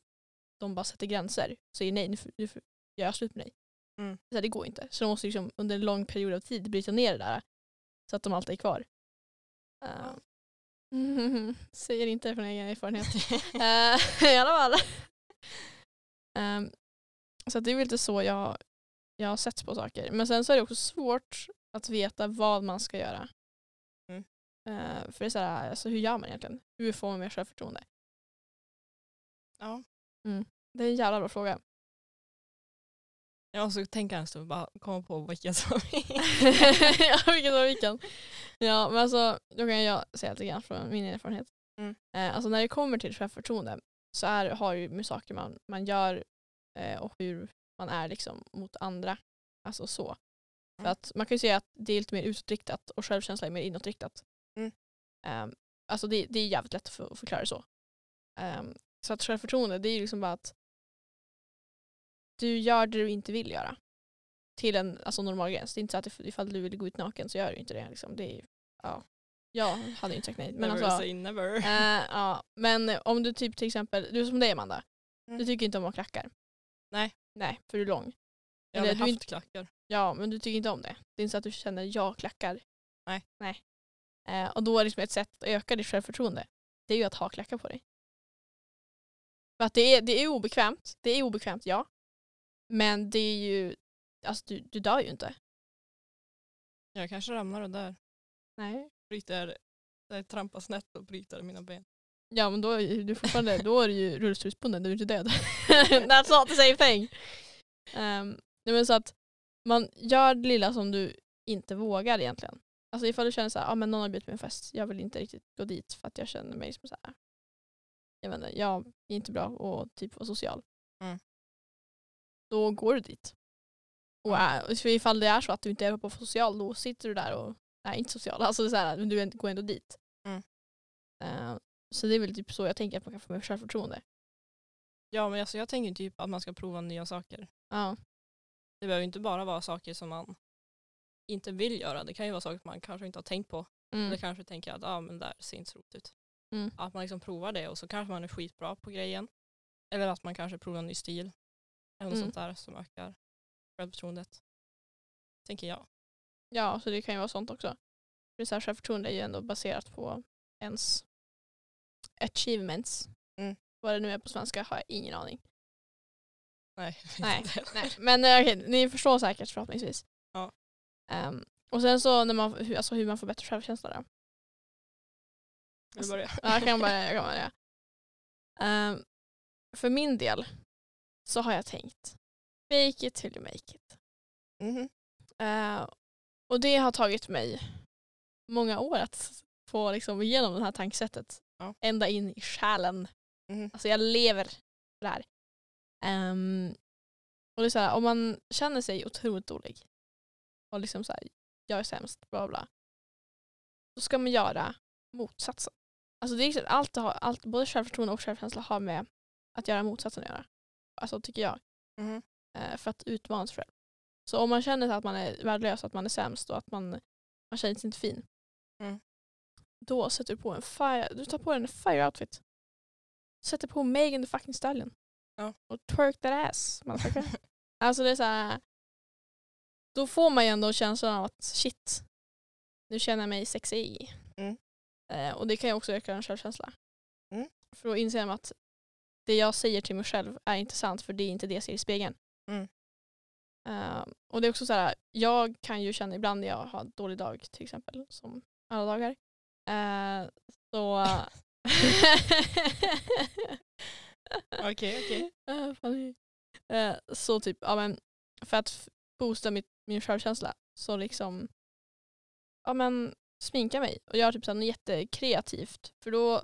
Speaker 1: de bara sätter gränser. Säger nej, nu, f- nu f- gör jag slut med dig.
Speaker 2: Mm.
Speaker 1: Så här, det går inte. Så de måste liksom under en lång period av tid bryta ner det där så att de alltid är kvar. Eh, Säger inte från egen erfarenhet. Eh, I alla fall. Ehm, så att det är väl lite så jag, jag har sett på saker. Men sen så är det också svårt att veta vad man ska göra.
Speaker 2: Mm.
Speaker 1: Eh, för det är så här, alltså, hur gör man egentligen? Hur får man mer självförtroende?
Speaker 2: Ja.
Speaker 1: Det är en jävla bra fråga.
Speaker 2: Jag måste tänka en stund bara komma på vilka som
Speaker 1: ja, vilken var vilken. Ja, men alltså, då kan jag säga lite grann från min erfarenhet.
Speaker 2: Mm.
Speaker 1: Eh, alltså när det kommer till självförtroende så är, har ju med saker man, man gör eh, och hur man är liksom mot andra. Alltså så. För
Speaker 2: Mm.
Speaker 1: att man kan ju säga att det är lite mer utåtriktat och självkänsla är mer inåtriktat.
Speaker 2: Mm.
Speaker 1: Ehm, alltså det, det är jävligt lätt att för- att förklara så. Ehm, så att självförtroende det är ju liksom bara att du gör det du inte vill göra till en alltså, normal gräns. Det är inte så att if- ifall du vill gå ut naken så gör du inte det. Liksom. det är, ja. Jag hade ju inte sagt nej. Men,
Speaker 2: never
Speaker 1: alltså,
Speaker 2: say never.
Speaker 1: eh, ja. men om du typ till exempel, du är som dig Amanda,
Speaker 2: Mm.
Speaker 1: du tycker inte om att ha klackar.
Speaker 2: Nej.
Speaker 1: Nej, för du är lång.
Speaker 2: Jag har
Speaker 1: eller
Speaker 2: aldrig haft
Speaker 1: du inte-
Speaker 2: klackar.
Speaker 1: Ja, men du tycker inte om det. Det är inte så att du känner jag klackar.
Speaker 2: Nej.
Speaker 1: Nej. Eh, och då är det liksom ett sätt att öka ditt självförtroende. Det är ju att ha klackar på dig. För att det är, det är obekvämt. Det är obekvämt, ja. Men det är ju, alltså du, du dör ju inte.
Speaker 2: Jag kanske ramlar och där.
Speaker 1: Nej,
Speaker 2: Bryter, där trampar snett och bryter mina ben.
Speaker 1: Ja men då är ju- du fortfarande, då är du ju rullstolsbunden, du är inte död. That's not the same thing. Um, nej men så att man gör det lilla som du inte vågar egentligen. Alltså ifall du känner så här, ah, men någon har bjudit på en fest, jag vill inte riktigt gå dit för att jag känner mig som så här. Jag vet inte, jag är inte bra och typ vara social.
Speaker 2: Mm.
Speaker 1: Då går du dit.
Speaker 2: Mm.
Speaker 1: Och är, för ifall det är så att du inte är på social, då sitter du där och är inte social. Alltså det är så här, men du är- går ändå dit.
Speaker 2: Mm.
Speaker 1: Eh, så det är väl typ så jag tänker att man kan få mer självförtroende.
Speaker 2: Ja men alltså, jag tänker typ att man ska prova nya saker.
Speaker 1: Ja.
Speaker 2: Det behöver ju inte bara vara saker som man inte vill göra. Det kan ju vara saker man kanske inte har tänkt på. Eller
Speaker 1: Mm.
Speaker 2: kanske tänker att ah, men där ser inte så roligt ut.
Speaker 1: Mm.
Speaker 2: Att man liksom provar det och så kanske man är skitbra på grejen. Eller att man kanske provar en ny stil. Eller något
Speaker 1: Mm.
Speaker 2: sånt där som ökar självförtroendet. Tänker jag.
Speaker 1: ja, så det kan ju vara sånt också. För så här, självförtroende är ju ändå baserat på ens achievements.
Speaker 2: Mm.
Speaker 1: Vad det nu är på svenska har jag ingen aning.
Speaker 2: Nej.
Speaker 1: Nej,
Speaker 2: inte.
Speaker 1: Nej. Men eh, okej, ni förstår säkert förhoppningsvis.
Speaker 2: Ja.
Speaker 1: Ehm, och sen så när man, hur- alltså hur man får bättre självkänsla då.
Speaker 2: Vill du börja?
Speaker 1: Ja, jag kan börja. Jag kan börja. Ehm, för min del så har jag tänkt fake it till you make it.
Speaker 2: Mhm.
Speaker 1: Eh, och det har tagit mig många år att få liksom igenom det här tankesättet.
Speaker 2: Ja.
Speaker 1: Ända in i själen.
Speaker 2: Mhm.
Speaker 1: Alltså jag lever för det här. Ehm, och det är så här, om man känner sig otroligt dålig och liksom så här, jag är sämst, bla bla, bla. Då ska man göra motsatsen. Alltså det är liksom allt, det har, allt, både självförtroende och självkänsla har med att göra motsatsen att göra. Alltså tycker jag
Speaker 2: Mhm.
Speaker 1: eh, för att utmana sig själv. Så om man känner så att man är värdelös, att man är sämst och att man, man känner sig inte fin.
Speaker 2: Mm.
Speaker 1: Då sätter du på en fire, du tar på dig en fire outfit. Sätter på Megan the fucking Stallion.
Speaker 2: Ja.
Speaker 1: Och twerk that ass. motherfucker. alltså det är så här. Då får man ju ändå känslan av att shit, nu känner jag mig sexig.
Speaker 2: Mm.
Speaker 1: Eh, och det kan ju också öka en självkänsla.
Speaker 2: Mm.
Speaker 1: För då inser man att det jag säger till mig själv är inte sant för det är inte det jag ser i spegeln.
Speaker 2: Mm.
Speaker 1: Eh, och det är också så här, jag kan ju känna ibland när jag har en dålig dag till exempel, som alla dagar. Eh, så...
Speaker 2: Okej, okej.
Speaker 1: Eh, funny. Eh, så typ, ja men för att f- boosta mitt, min självkänsla så liksom, ja men sminka mig och göra typ så här något jättekreativt för då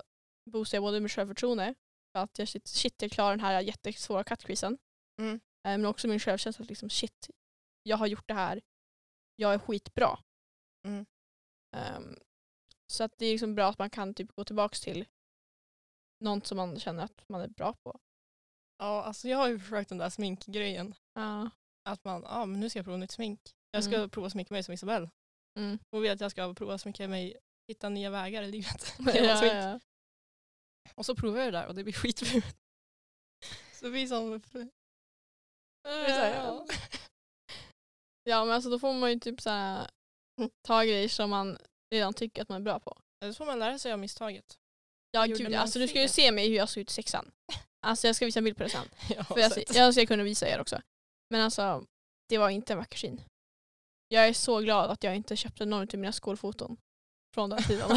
Speaker 1: boostar jag både mitt självförtroende för att jag shit, shit jag klarar den här jättesvåra cutcreasen
Speaker 2: Mm.
Speaker 1: Eh, men också min självkänsla att liksom shit jag har gjort det här, jag är skitbra.
Speaker 2: Mm.
Speaker 1: Ehm, så att det är liksom bra att man kan typ gå tillbaka till något som man känner att man är bra på.
Speaker 2: Ja, alltså jag har ju försökt den där sminkgrejen. Att man, ja men nu ska jag prova nytt smink. Jag ska
Speaker 1: Mm.
Speaker 2: prova sminka mig som Isabelle.
Speaker 1: Mm.
Speaker 2: Hon vill att jag ska prova sminka mig, hitta nya vägar i livet.
Speaker 1: Ja,
Speaker 2: Genom smink.
Speaker 1: ja.
Speaker 2: Och så provar jag det där och det blir skitfult. Så det blir som... det är så här, ja.
Speaker 1: Ja men alltså då får man ju typ såhär
Speaker 2: Mm.
Speaker 1: ta grejer som man redan tycker att man är bra på.
Speaker 2: Eller så får man lära sig av misstaget.
Speaker 1: Ja
Speaker 2: Gjorde
Speaker 1: gud,
Speaker 2: man
Speaker 1: alltså du ska ju
Speaker 2: fel?
Speaker 1: se mig hur jag såg ut i sexan. Alltså jag ska visa en bild på det sen.
Speaker 2: Ja,
Speaker 1: För jag,
Speaker 2: så att-
Speaker 1: jag önskar jag kunde visa er också. Men alltså det var inte en vacker syn. Jag är så glad att jag inte köpte någon av mina skolfoton från den tiden.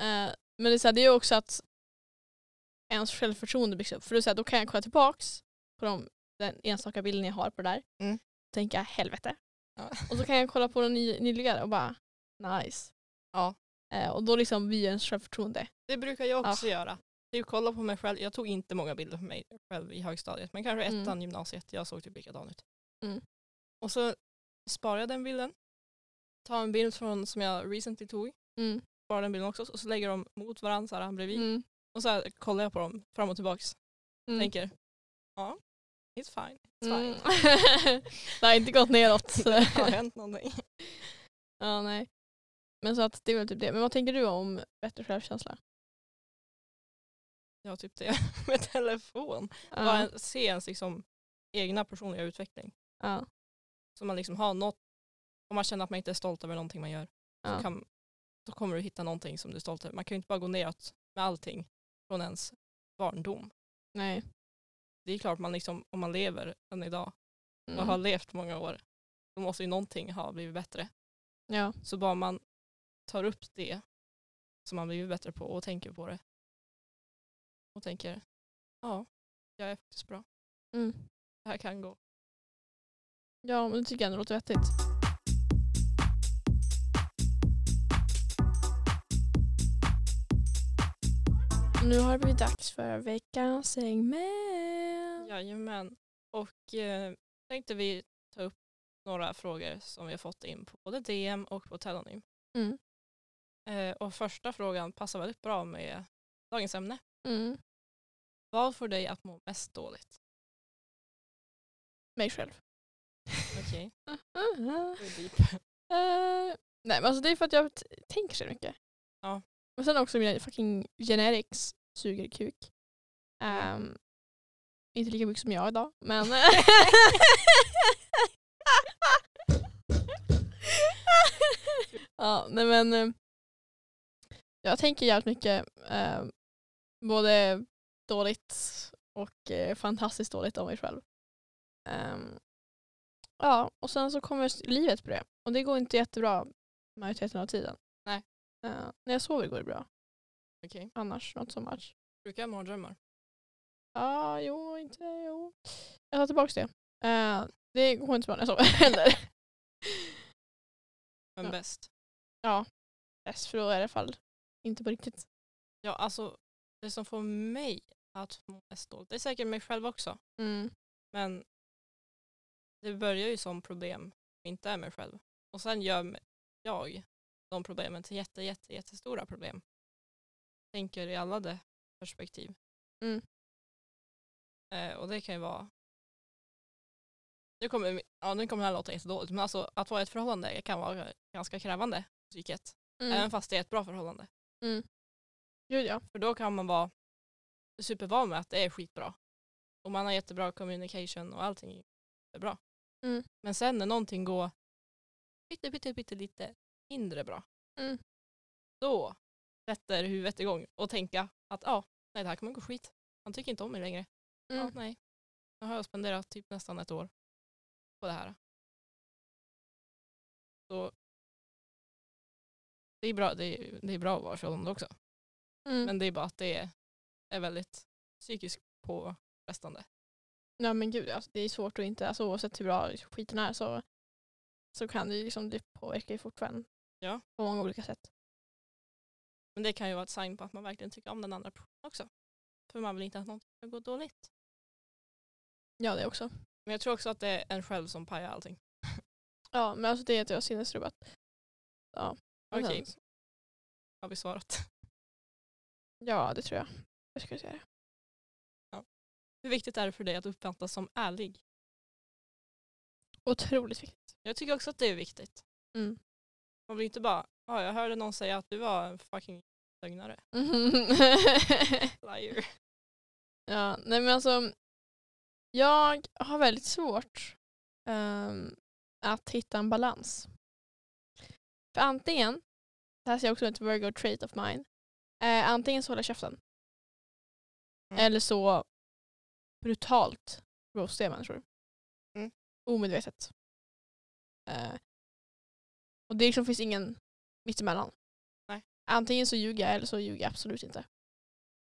Speaker 1: Eh, men det är, så här, det är ju också att ens självförtroende byggs upp. För det är så här, då kan jag kolla tillbaks på de, den enstaka bilden jag har på det där
Speaker 2: Mm.
Speaker 1: och tänka helvete.
Speaker 2: Ja.
Speaker 1: Och så kan jag kolla på den ny, nyligare och bara nice.
Speaker 2: Ja.
Speaker 1: Eh, och då liksom blir ens självförtroende.
Speaker 2: Det brukar jag också göra. Typ kolla på mig själv. Jag tog inte många bilder på mig själv i högstadiet. Men kanske
Speaker 1: Mm.
Speaker 2: ettan gymnasiet. Jag såg typ likadan ut.
Speaker 1: Mm.
Speaker 2: Och så sparar jag den bilden. Tar en bild från, som jag recently tog.
Speaker 1: Mm.
Speaker 2: Sparar den bilden också. Och så lägger de mot varandra så här bredvid.
Speaker 1: Mm.
Speaker 2: Och så här, kollar jag på dem fram och tillbaks.
Speaker 1: Mm.
Speaker 2: Tänker, ja, it's fine. It's
Speaker 1: Mm.
Speaker 2: fine.
Speaker 1: det har inte gått neråt.
Speaker 2: Det har hänt någonting.
Speaker 1: ja, nej. Men så att det är väl typ det. Men vad tänker du om bättre självkänsla?
Speaker 2: Jag har typ det med telefon. Bara en- se ens liksom, egna personliga utveckling.
Speaker 1: ja,
Speaker 2: Så man liksom har något, om man känner att man inte är stolt över någonting man gör,
Speaker 1: ja.
Speaker 2: så kan, då kommer du hitta någonting som du är stolt över. Man kan ju inte bara gå neråt med allting från ens barndom.
Speaker 1: Nej.
Speaker 2: Det är klart man liksom, om man lever än idag och
Speaker 1: Mm.
Speaker 2: har levt många år, då måste ju någonting ha blivit bättre.
Speaker 1: Ja.
Speaker 2: Så bara man tar upp det som man blivit bättre på och tänker på det. Och tänker, ja, jag är faktiskt bra.
Speaker 1: Mm.
Speaker 2: Det här kan gå.
Speaker 1: ja, men det tycker jag ändå låter vettigt. Nu har det blivit dags för veckans segment.
Speaker 2: Jajamän. Och eh, tänkte vi ta upp några frågor som vi har fått in på både DM och på Telonym.
Speaker 1: Mm.
Speaker 2: Eh, och första frågan passar väldigt bra med dagens ämne.
Speaker 1: Mm.
Speaker 2: Vad får dig att må mest dåligt?
Speaker 1: Mig själv.
Speaker 2: Okej,
Speaker 1: Mhm.
Speaker 2: det är deep.
Speaker 1: Eh, nej men alltså det är för att jag t- tänker så mycket.
Speaker 2: Ja.
Speaker 1: Och sen också mina fucking generics suger kuk. Ehm, Inte lika mycket som jag idag men... ja nej men eh, jag tänker jävligt mycket eh, både dåligt och eh, fantastiskt dåligt om mig själv. Ehm, ja och sen så kommer livet på det. Och det går inte jättebra majoriteten av tiden.
Speaker 2: Nej.
Speaker 1: Eh, när jag sover går det bra.
Speaker 2: Okej.
Speaker 1: Annars not so much.
Speaker 2: Brukar jag ha mardrömmar?
Speaker 1: Ja, ah, jo, inte jo. Jag tar tillbaka det. Eh, det går inte bra när jag sover heller.
Speaker 2: Men
Speaker 1: Ja.
Speaker 2: bäst.
Speaker 1: Yes, för då är det i alla fall inte på riktigt.
Speaker 2: Ja, alltså det som får mig att må mest dåligt, det är säkert mig själv också,
Speaker 1: Mm.
Speaker 2: men det börjar ju som problem som inte är mig själv. Och sen gör m- jag de problemen till jätte, jätte, jättestora problem. Tänker i alla de perspektiv.
Speaker 1: Mm.
Speaker 2: Eh, och det kan ju vara nu kommer, ja, nu kommer det här låta jättedåligt, men alltså att vara i ett förhållande kan vara ganska krävande på psyket. Även
Speaker 1: Mm.
Speaker 2: fast det är ett bra förhållande.
Speaker 1: Gud ja.
Speaker 2: För då kan man vara supervan med att det är skitbra. Och man har jättebra communication och allting är bra.
Speaker 1: Mm.
Speaker 2: Men sen när någonting går pytte, pytte, pytte lite mindre bra.
Speaker 1: Mm.
Speaker 2: Då sätter huvudet igång och tänka att ja, nej det här kommer gå skit. Han tycker inte om mig längre. Ja,
Speaker 1: Mm.
Speaker 2: nej. Nu har jag spenderat typ nästan ett år på det här. Så det är bra, det är, det är bra att vara i förhållande också.
Speaker 1: Mm.
Speaker 2: Men det är bara att det är väldigt psykiskt påfrestande.
Speaker 1: Ja men gud, alltså, det är svårt att inte, alltså, oavsett hur bra skiten är så, så kan det ju liksom, det påverkar ju fortfarande.
Speaker 2: Ja.
Speaker 1: På många olika sätt.
Speaker 2: Men det kan ju vara ett sign på att man verkligen tycker om den andra personen också. För man vill inte att någonting ska gå dåligt.
Speaker 1: Ja det också.
Speaker 2: Men jag tror också att det är en själv som pajar allting.
Speaker 1: Ja men alltså det är att jag har sinnesrubbat. Ja.
Speaker 2: Okej.
Speaker 1: Men sen-
Speaker 2: Har vi svarat?
Speaker 1: Ja det tror jag. Jag ska säga det.
Speaker 2: Hur viktigt är det för dig att uppfattas som ärlig?
Speaker 1: Otroligt viktigt.
Speaker 2: Jag tycker också att det är viktigt.
Speaker 1: Mm.
Speaker 2: Man blir inte bara, ja jag hörde någon säga att du var en fucking lögnare.
Speaker 1: 嗯 Mm.
Speaker 2: Liar.
Speaker 1: ja, nej men alltså jag har väldigt svårt ehm, att hitta en balans. För antingen, det här ser jag också ett Virgo trait of mine, eh, antingen så håller jag käften
Speaker 2: Mm.
Speaker 1: eller så brutalt roastar jag människor.
Speaker 2: Mm.
Speaker 1: Omedvetet. Eh, och det liksom finns ingen mittemellan.
Speaker 2: Nej.
Speaker 1: Antingen så ljuger jag eller så ljuger jag absolut inte.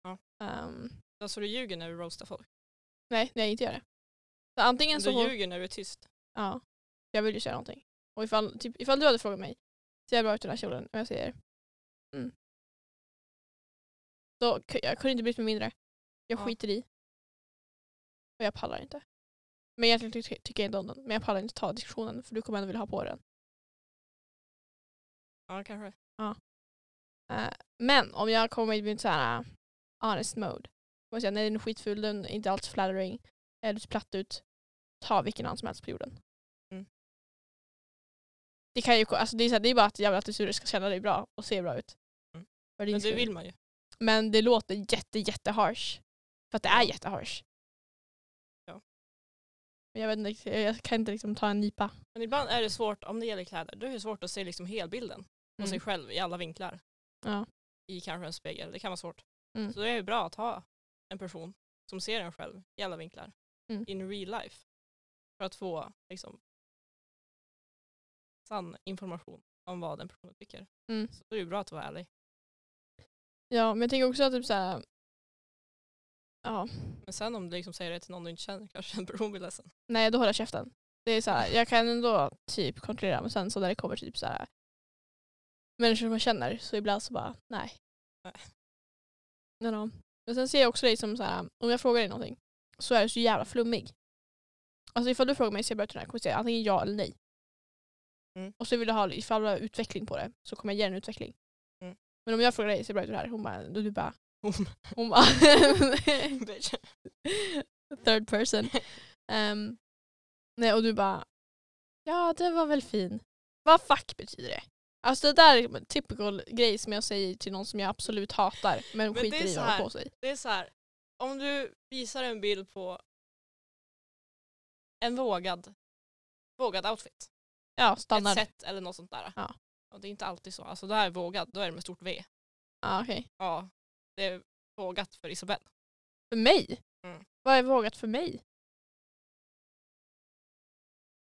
Speaker 2: Ja.
Speaker 1: Ehm,
Speaker 2: Alltså du ljuger när du roastar folk.
Speaker 1: Nej, när jag inte gör det. Så antingen
Speaker 2: Men
Speaker 1: så...
Speaker 2: du ljuger när du är tyst.
Speaker 1: Ja. Jag vill ju säga någonting. Och ifall, typ, ifall du hade frågat mig, ser jag bra ut i den här kjolen? Och jag säger mm. Så k- jag kunde inte brytt mig mindre. Jag
Speaker 2: Ja.
Speaker 1: skiter i. Och jag pallar inte. Men egentligen ty- tycker jag inte om den. Men jag pallar inte ta diskussionen för du kommer ändå vilja ha på den.
Speaker 2: Ja kanske.
Speaker 1: Eh, men om jag kommer i mitt såhär äh, honest mode. Kommer jag säga nej den är skitful, den är inte alls flattering. Är du ser platt ut. Ta vilken hand som helst på jorden.
Speaker 2: Mm.
Speaker 1: Det, kan ju, alltså det, är så här, det är bara att jag vill att du ska känna dig bra och se bra ut.
Speaker 2: Mm.
Speaker 1: För din
Speaker 2: Men det
Speaker 1: skull.
Speaker 2: vill man ju.
Speaker 1: men det låter jätte jätte harsh. För att det är jätte harsh.
Speaker 2: Ja.
Speaker 1: Men jag, vet inte, riktigt- jag kan inte liksom ta en nypa.
Speaker 2: Men ibland är det svårt, om det gäller kläder, då är det svårt att se liksom helbilden på
Speaker 1: Mm.
Speaker 2: sig själv i alla vinklar.
Speaker 1: Ja.
Speaker 2: I kanske en spegel, det kan vara svårt.
Speaker 1: Mm.
Speaker 2: Så det är ju bra att ha en person som ser en själv i alla vinklar,
Speaker 1: Mm.
Speaker 2: in real life. För att få liksom, sann information om vad den personen tycker.
Speaker 1: Mm.
Speaker 2: Så det är ju bra att vara ärlig.
Speaker 1: Ja men jag tänker också att typ såhär. Ja.
Speaker 2: Men sen om du liksom säger det till någon du inte känner kanske en person blir ledsen.
Speaker 1: Nej, då håller jag käften. Det är så här, jag kan ändå typ kontrollera men sen så när det kommer till typ så här människor som jag känner så ibland så bara nej.
Speaker 2: Nej.
Speaker 1: Ja, då. Men sen ser jag också dig som så här, om jag frågar dig någonting så är du så jävla flummig. Alltså ifall du frågar mig ser jag bra ut i den här kommer jag säga antingen ja eller nej.
Speaker 2: Mm.
Speaker 1: Och så vill du ha, ifall du har utveckling på det så kommer jag ge dig en utveckling.
Speaker 2: Mm.
Speaker 1: Men om jag frågar dig ser jag bra ut i det här? Hon bara, du, du bara,
Speaker 2: Hon-
Speaker 1: hon bara
Speaker 2: Bitch.
Speaker 1: third person. Ehm, nej, och du bara, ja det var väl fin. Vad fuck betyder det? Alltså det där är en typical grej som jag säger till någon som jag absolut hatar men,
Speaker 2: Men det
Speaker 1: skiter
Speaker 2: är
Speaker 1: i
Speaker 2: så
Speaker 1: vad de har
Speaker 2: här.
Speaker 1: på sig.
Speaker 2: Det är så här, om du visar en bild på en vågad, vågad outfit,
Speaker 1: Ja,
Speaker 2: ett
Speaker 1: standard.
Speaker 2: set eller något sånt där.
Speaker 1: Ja.
Speaker 2: Och det är inte alltid så. Alltså det här är vågad, då är det med stort V.
Speaker 1: Ja, okej.
Speaker 2: Ja, det är vågat för Isabelle.
Speaker 1: För mig?
Speaker 2: Mm.
Speaker 1: Vad är vågat för mig?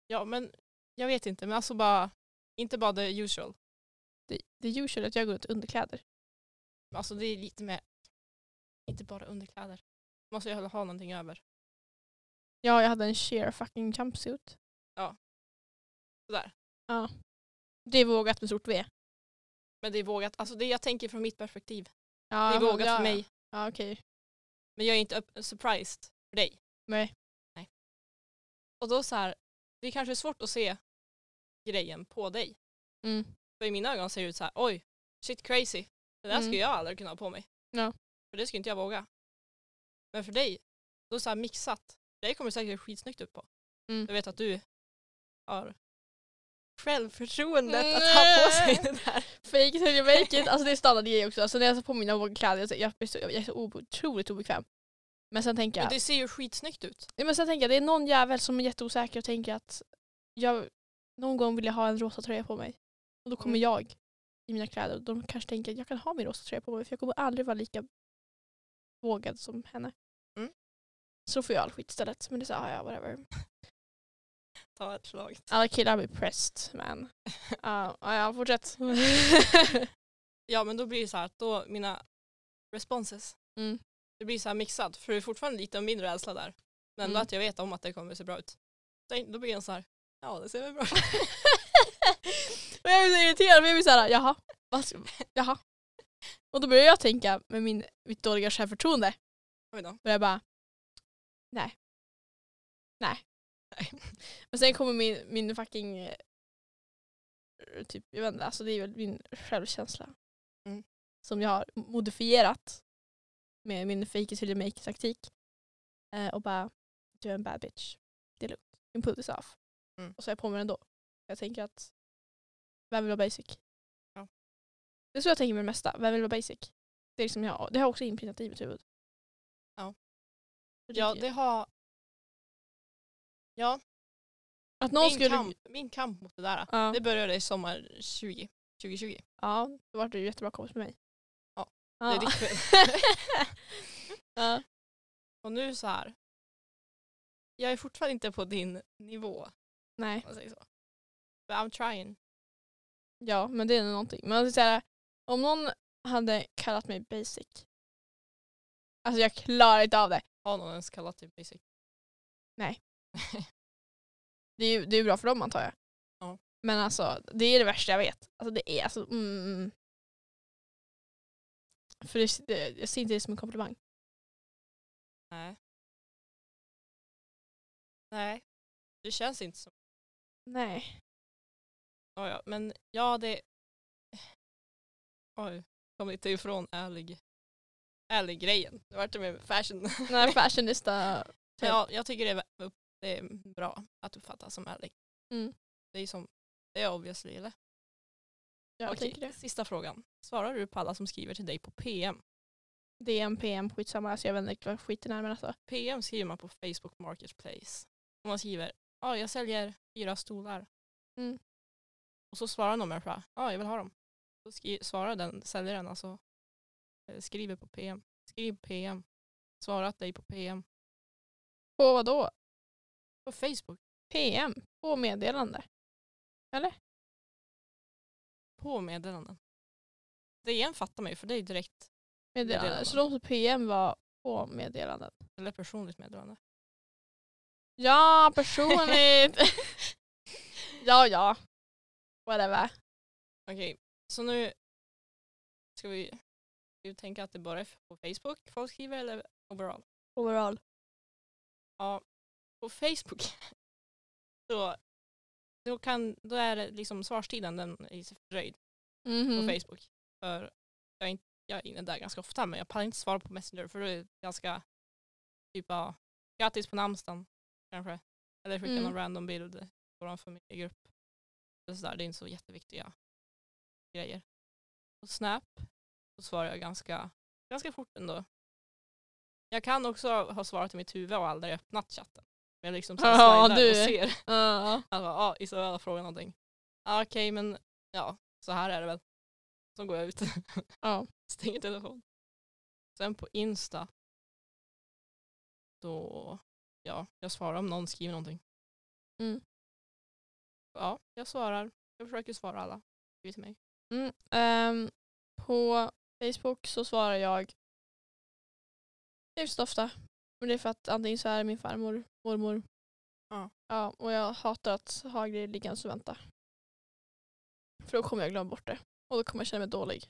Speaker 2: Ja men jag vet inte, men alltså bara, inte bara the usual.
Speaker 1: det, det är usual att jag går runt i underkläder.
Speaker 2: Men Alltså det är lite mer, inte bara underkläder. Måste jag ha någonting över.
Speaker 1: Ja, jag hade en sheer fucking jumpsuit.
Speaker 2: Sådär.
Speaker 1: Det är vågat med stort V.
Speaker 2: Men det är vågat, alltså det jag tänker från mitt perspektiv.
Speaker 1: Ja,
Speaker 2: det är
Speaker 1: men-
Speaker 2: vågat
Speaker 1: ja,
Speaker 2: för
Speaker 1: ja.
Speaker 2: mig.
Speaker 1: Ja, okej.
Speaker 2: Men jag är inte upp- surprised för dig.
Speaker 1: Nej.
Speaker 2: Nej. Och då så här, det är kanske svårt att se grejen på dig.
Speaker 1: Mm.
Speaker 2: För i mina ögon ser det ut så här, oj, shit crazy. Det där
Speaker 1: Mm.
Speaker 2: skulle jag aldrig kunna ha på mig.
Speaker 1: Ja.
Speaker 2: För det skulle inte jag våga. Men för dig, då så här mixat. Det kommer säkert skitsnyggt ut på.
Speaker 1: Mm.
Speaker 2: Jag vet att du har självförtroendet att ha på sig
Speaker 1: Nej.
Speaker 2: det där.
Speaker 1: Fake it till you make it. Alltså det är standard grej också. Alltså när jag tar på mina vågkläder, jag, jag, blir så- jag är så obo- otroligt obekväm. Men sen tänker
Speaker 2: Men
Speaker 1: jag,
Speaker 2: det ser ju skitsnyggt ut.
Speaker 1: Ja, men sen tänker jag, det är någon jävel som är jätteosäker och tänker att jag, någon gång vill jag ha en rosa tröja på mig. Och då kommer
Speaker 2: Mm.
Speaker 1: jag i mina kläder och de kanske tänker att jag kan ha min rosa tröja på mig för jag kommer aldrig vara lika vågad som henne.
Speaker 2: Mm.
Speaker 1: Så får jag all skit istället. Men det är så, här, ja whatever.
Speaker 2: Ta ett slag.
Speaker 1: Alla killar blir pressed man. Ja, ja, ja, fortsätt.
Speaker 2: Ja men då blir det så här att då mina responses,
Speaker 1: Mm.
Speaker 2: det blir så här mixat för det är fortfarande lite av min rädsla där. Men ändå
Speaker 1: Mm.
Speaker 2: att jag vet om att det kommer se bra ut. Så Då blir den så här, ja det ser väl bra ut.
Speaker 1: och jag blir så irriterad för jag blir såhär, jaha, vad ska, jaha. Och då börjar jag tänka med min, mitt dåliga självförtroende.
Speaker 2: Oj då.
Speaker 1: Och jag bara, nej. Nej. Och sen kommer min, min fucking, eh, typ, jag vet inte, alltså det är väl min självkänsla.
Speaker 2: Mm.
Speaker 1: Som jag har modifierat med min fake it till you make it taktik. Eh, och bara, du är en bad bitch. Det är lugnt. Min pull is off.
Speaker 2: Mm.
Speaker 1: Och så är jag på mig den ändå. Jag tänker att, vem vill vara basic?
Speaker 2: Ja.
Speaker 1: Det är så jag tänker med det mesta. Vem vill vara basic? Det, är liksom jag, det har jag också inprintat i mitt huvud.
Speaker 2: Ja.
Speaker 1: Så det
Speaker 2: Ja
Speaker 1: är-
Speaker 2: det har, ja
Speaker 1: Att någon
Speaker 2: min,
Speaker 1: skulle...
Speaker 2: kamp, min kamp mot det där.
Speaker 1: Ja.
Speaker 2: Det började i sommar 20, 2020.
Speaker 1: Ja, då var du ju jättebra kompis med mig.
Speaker 2: Ja,
Speaker 1: ja.
Speaker 2: Det är ditt fel.
Speaker 1: ja.
Speaker 2: Och nu så här, jag är fortfarande inte på din nivå. om
Speaker 1: Nej,
Speaker 2: man säger så. But I'm trying.
Speaker 1: ja men det är nog någonting. Men alltså, så här, om någon hade kallat mig basic. Alltså jag klarar inte av det.
Speaker 2: Har någon ens kallat dig basic?
Speaker 1: Det är ju det är ju bra för dem antar jag.
Speaker 2: Ja.
Speaker 1: Men alltså det är det värsta jag vet. Alltså det är alltså... Mm. mm. För det, det, jag ser inte det som en komplimang.
Speaker 2: Nej. Nej. Det känns inte som...
Speaker 1: Nej.
Speaker 2: Oh, ja. Men ja, det... Oj, kom inte ifrån ärlig... Ärlig grejen. Det vart det med fashion.
Speaker 1: Nej, fashionista...
Speaker 2: Men ja, jag tycker det är, vä- upp- det är bra att uppfattas som ärlig.
Speaker 1: Mm.
Speaker 2: Det är som... Det är obviously, eller?
Speaker 1: Jag
Speaker 2: Okej,
Speaker 1: tycker det.
Speaker 2: Sista frågan. Svarar du på alla som skriver till dig på PM?
Speaker 1: DM, PM, skitsamma. Alltså jag vet inte vad skiten är men alltså.
Speaker 2: PM skriver man på Facebook Marketplace. Och man skriver, ja, jag säljer fyra stolar.
Speaker 1: Mm.
Speaker 2: Och så svarar någon människa, ja jag vill ha dem. Så skri- svarar den säljaren alltså, eh, skriver på PM, skriv PM, svarat dig på PM,
Speaker 1: På vad då?
Speaker 2: på Facebook,
Speaker 1: PM? På meddelande?
Speaker 2: på meddelanden. DN fattar mig för det är ju direkt,
Speaker 1: meddelande.
Speaker 2: Meddelande.
Speaker 1: Så de som PM var på meddelanden?
Speaker 2: eller personligt meddelande.
Speaker 1: Ja, personligt! ja, ja. Whatever.
Speaker 2: Okej, så nu ska vi, ska vi tänka att det bara är på Facebook folk skriver eller overall?
Speaker 1: Overall.
Speaker 2: Ja, på Facebook då, då, kan, då är det liksom svarstiden den är fördröjd
Speaker 1: Mhm.
Speaker 2: på Facebook. För jag är, inte, jag är inne där ganska ofta men jag pallar inte svara på Messenger för då är det ganska typ ja, grattis på namnsdagen kanske. Eller skicka
Speaker 1: Mm.
Speaker 2: någon random bild i vår familjegrupp. Och sådär. Det är inte så jätteviktiga grejer. På Snap så svarar jag ganska, ganska fort ändå. Jag kan också ha svarat i mitt huvud och aldrig öppnat chatten. Men jag liksom så här
Speaker 1: Ja,
Speaker 2: slidar
Speaker 1: du.
Speaker 2: och ser.
Speaker 1: Ja.
Speaker 2: Han bara, Alltså, ja Isabella frågar någonting. Ja okej men ja, så här är det väl. Så går jag ut,
Speaker 1: Ja.
Speaker 2: stänger telefon. Sen på Insta, då, ja, jag svarar om någon skriver någonting.
Speaker 1: Mm.
Speaker 2: Ja, jag svarar. Jag försöker svara alla. Skriver till mig.
Speaker 1: Mm. ehm, på Facebook så svarar jag hyfsat ofta. Men det är för att antingen så är det min farmor, mormor.
Speaker 2: Ja.
Speaker 1: ja och jag hatar att ha grejer liggandes och vänta. För då kommer jag glömma bort det. Och då kommer jag känna mig dålig.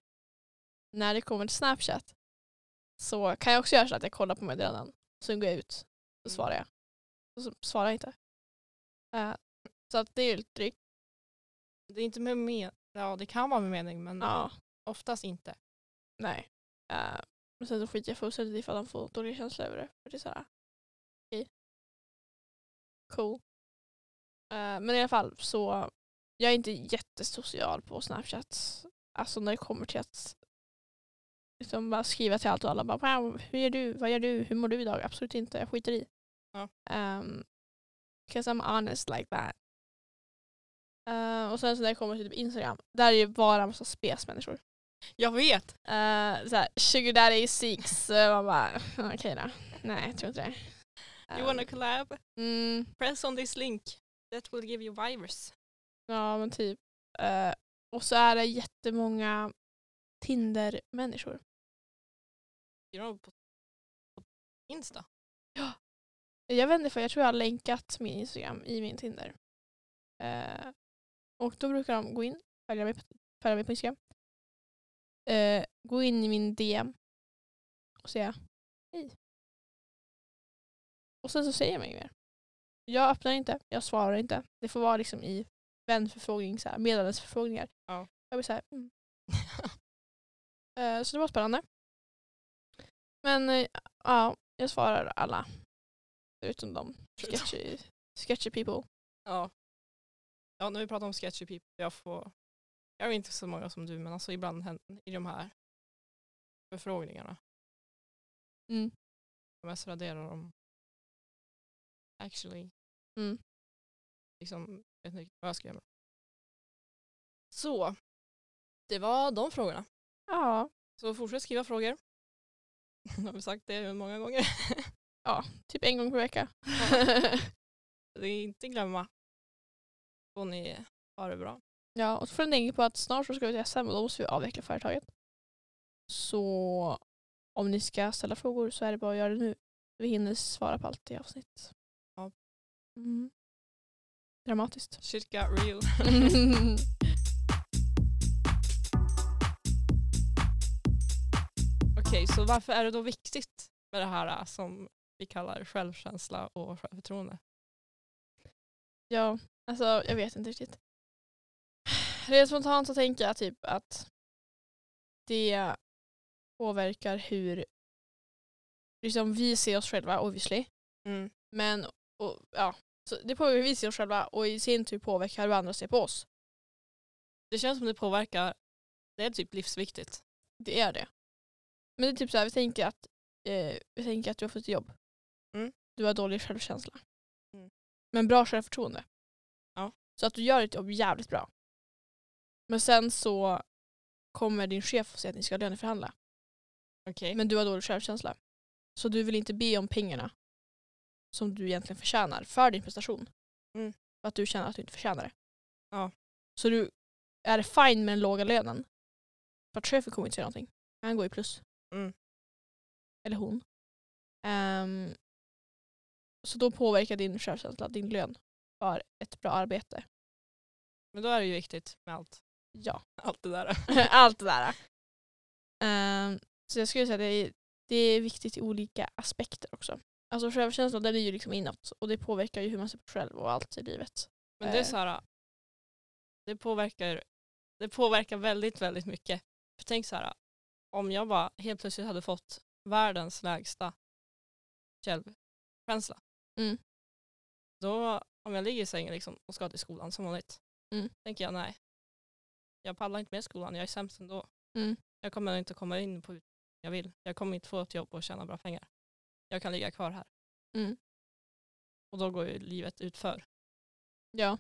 Speaker 1: När det kommer till Snapchat så kan jag också göra så att jag kollar på meddelanden. Sen går jag ut och
Speaker 2: Mm.
Speaker 1: svarar jag. Och så svarar jag inte. Eh, så att det är ju lite drygt.
Speaker 2: Det är inte med mening, ja det kan vara med mening men
Speaker 1: Ja.
Speaker 2: oftast inte.
Speaker 1: Nej. Uh, men sen så skiter jag fullständigt ifall han får dåliga känslor över det. För det är såhär, okej. Cool. Eh, men i alla fall så, jag är inte jättesocial på Snapchat. Alltså när det kommer till att liksom bara skriva till allt och alla bara wow, hur gör du, vad gör du, hur mår du idag? Absolut inte, jag skiter i.
Speaker 2: Ja.
Speaker 1: Um, Cause I'm honest like that. Eh, och sen så när det kommer till typ Instagram, där är ju bara en massa spesmänniskor.
Speaker 2: Jag vet!
Speaker 1: Uh, såhär, sugar daddy seeks. Eh, man bara, okej då. Nej, jag tror inte det.
Speaker 2: You
Speaker 1: Eh,
Speaker 2: wanna collab?
Speaker 1: mm,
Speaker 2: Press on this link. That will give you virus.
Speaker 1: ja, men typ. Eh, och så är det jättemånga Tinder-människor.
Speaker 2: Skriver de på, på Insta?
Speaker 1: Jag vet inte, för jag tror jag har länkat min Instagram i min Tinder. Eh, och då brukar de gå in, följa mig på, följa mig på Instagram. Eh, gå in i min DM och säga hej. Och sen så säger man inget mer. Jag öppnar inte, jag svarar inte. Det får vara liksom i vänförfrågning, så här, meddelandesförfrågningar.
Speaker 2: Ja.
Speaker 1: Jag blir så här, mm. Eh, så det var spännande. Men eh, ja, jag svarar alla. Utom de sketchy, sketchy people.
Speaker 2: Ja. Ja, när vi pratar om sketchy people, jag får... Jag är inte så många som du, men alltså ibland händer i de här förfrågningarna.
Speaker 1: Mm.
Speaker 2: Jag mest raderar dem. Actually.
Speaker 1: Mm.
Speaker 2: Liksom, jag vet inte vad jag ska göra med dem. Så, det var de frågorna.
Speaker 1: Ja,
Speaker 2: Så fortsätt skriva frågor. Jag har vi sagt det många gånger.
Speaker 1: typ en gång per vecka.
Speaker 2: Det är inte glömma. Får ni ha det bra.
Speaker 1: Ja, och så får ni tänka på att snart så ska vi till SM och då måste vi avveckla företaget. Så om ni ska ställa frågor så är det bara att göra det nu. Vi hinner svara på allt i avsnitt.
Speaker 2: Ja.
Speaker 1: Mm. Dramatiskt.
Speaker 2: Shit got real. Okej, så varför är det då viktigt med det här eh, som vi kallar självkänsla och självförtroende?
Speaker 1: ja, alltså jag vet inte riktigt. Rent spontant så tänker jag typ att det påverkar hur liksom vi ser oss själva obviously. Men och, ja, så det påverkar hur vi ser oss själva och i sin tur påverkar hur andra ser på oss.
Speaker 2: Det känns som det påverkar, det är typ livsviktigt.
Speaker 1: Det är det. Men det är typ så här, vi tänker att, eh, vi tänker att du har fått ett jobb.
Speaker 2: Mm.
Speaker 1: Du har dålig självkänsla.
Speaker 2: Mm.
Speaker 1: Men bra självförtroende.
Speaker 2: Ja.
Speaker 1: Så att du gör ditt jobb jävligt bra. Men sen så kommer din chef och säger att ni ska löneförhandla.
Speaker 2: Okej.
Speaker 1: Men du har dålig självkänsla. Så du vill inte be om pengarna som du egentligen förtjänar för din prestation.
Speaker 2: Mm.
Speaker 1: För att du känner att du inte förtjänar det.
Speaker 2: Ja.
Speaker 1: Så du är fine med den låga lönen. För att chefen kommer inte säga någonting. Han går i plus.
Speaker 2: Mm.
Speaker 1: Eller hon. Ehm, så då påverkar din självkänsla din lön för ett bra arbete.
Speaker 2: Men då är det ju viktigt med allt,
Speaker 1: Ja.
Speaker 2: allt det där.
Speaker 1: Allt det där. Ehm, så jag skulle säga att det är, det är viktigt i olika aspekter också. Alltså självkänslan den är ju liksom inåt och det påverkar ju hur man ser på sig själv och allt i livet.
Speaker 2: Men det är
Speaker 1: Eh.
Speaker 2: så här, äh, det påverkar, det påverkar väldigt, väldigt mycket. För tänk så här, äh, om jag bara helt plötsligt hade fått världens lägsta självkänsla.
Speaker 1: Mm.
Speaker 2: Då, om jag ligger i sängen liksom och ska till skolan som vanligt,
Speaker 1: Mm.
Speaker 2: tänker jag nej. Jag pallar inte med skolan, jag är sämst ändå.
Speaker 1: Mm.
Speaker 2: Jag kommer inte komma in på ut- jag vill. Jag kommer inte få ett jobb och tjäna bra pengar. Jag kan ligga kvar här.
Speaker 1: Mm.
Speaker 2: Och då går ju livet utför.
Speaker 1: Ja.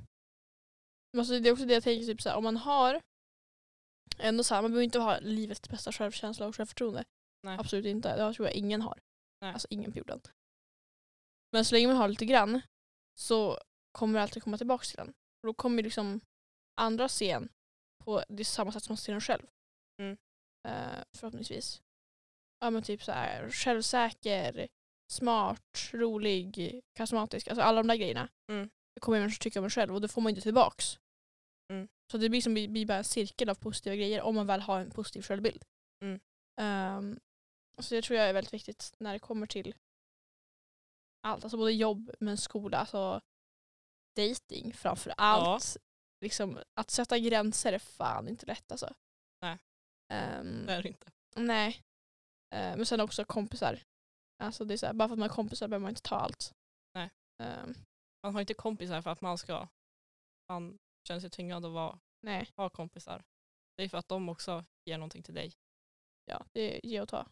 Speaker 1: Men Alltså, det är också det jag tänker, typ så här, om man har ändå så här, man behöver inte ha livets bästa självkänsla och självförtroende.
Speaker 2: Nej.
Speaker 1: Absolut inte. Det tror jag ingen har.
Speaker 2: Nej.
Speaker 1: Alltså ingen på jorden. Men så länge man har lite grann så kommer det alltid komma tillbaka till den. Och då kommer liksom andra se en på det samma sätt som man ser den själv.
Speaker 3: Mm.
Speaker 1: Eh, förhoppningsvis. Ja men typ så här självsäker, smart, rolig, karismatisk. Alltså alla de där grejerna.
Speaker 3: Mm.
Speaker 1: Det kommer människor tycka om en själv och det får man inte tillbaks.
Speaker 3: Mm.
Speaker 1: Så det blir liksom, som blir blir bara en cirkel av positiva grejer om man väl har en positiv självbild.
Speaker 3: Mm.
Speaker 1: Ehm, så det tror jag är väldigt viktigt när det kommer till allt. Alltså både jobb men skola. Alltså dating framför allt. Liksom, att sätta gränser är fan inte lätt alltså.
Speaker 2: Nej.
Speaker 1: Ehm,
Speaker 2: Det är det inte.
Speaker 1: nej. Eh, men sen också kompisar. Alltså det är så här, bara för att man har kompisar behöver man inte ta allt.
Speaker 2: Nej.
Speaker 1: Ehm,
Speaker 2: Man har inte kompisar för att man ska, man känner sig tvingad att vara,
Speaker 1: nej,
Speaker 2: ha kompisar. Det är för att de också ger någonting till dig.
Speaker 1: ja, det är ge och ta.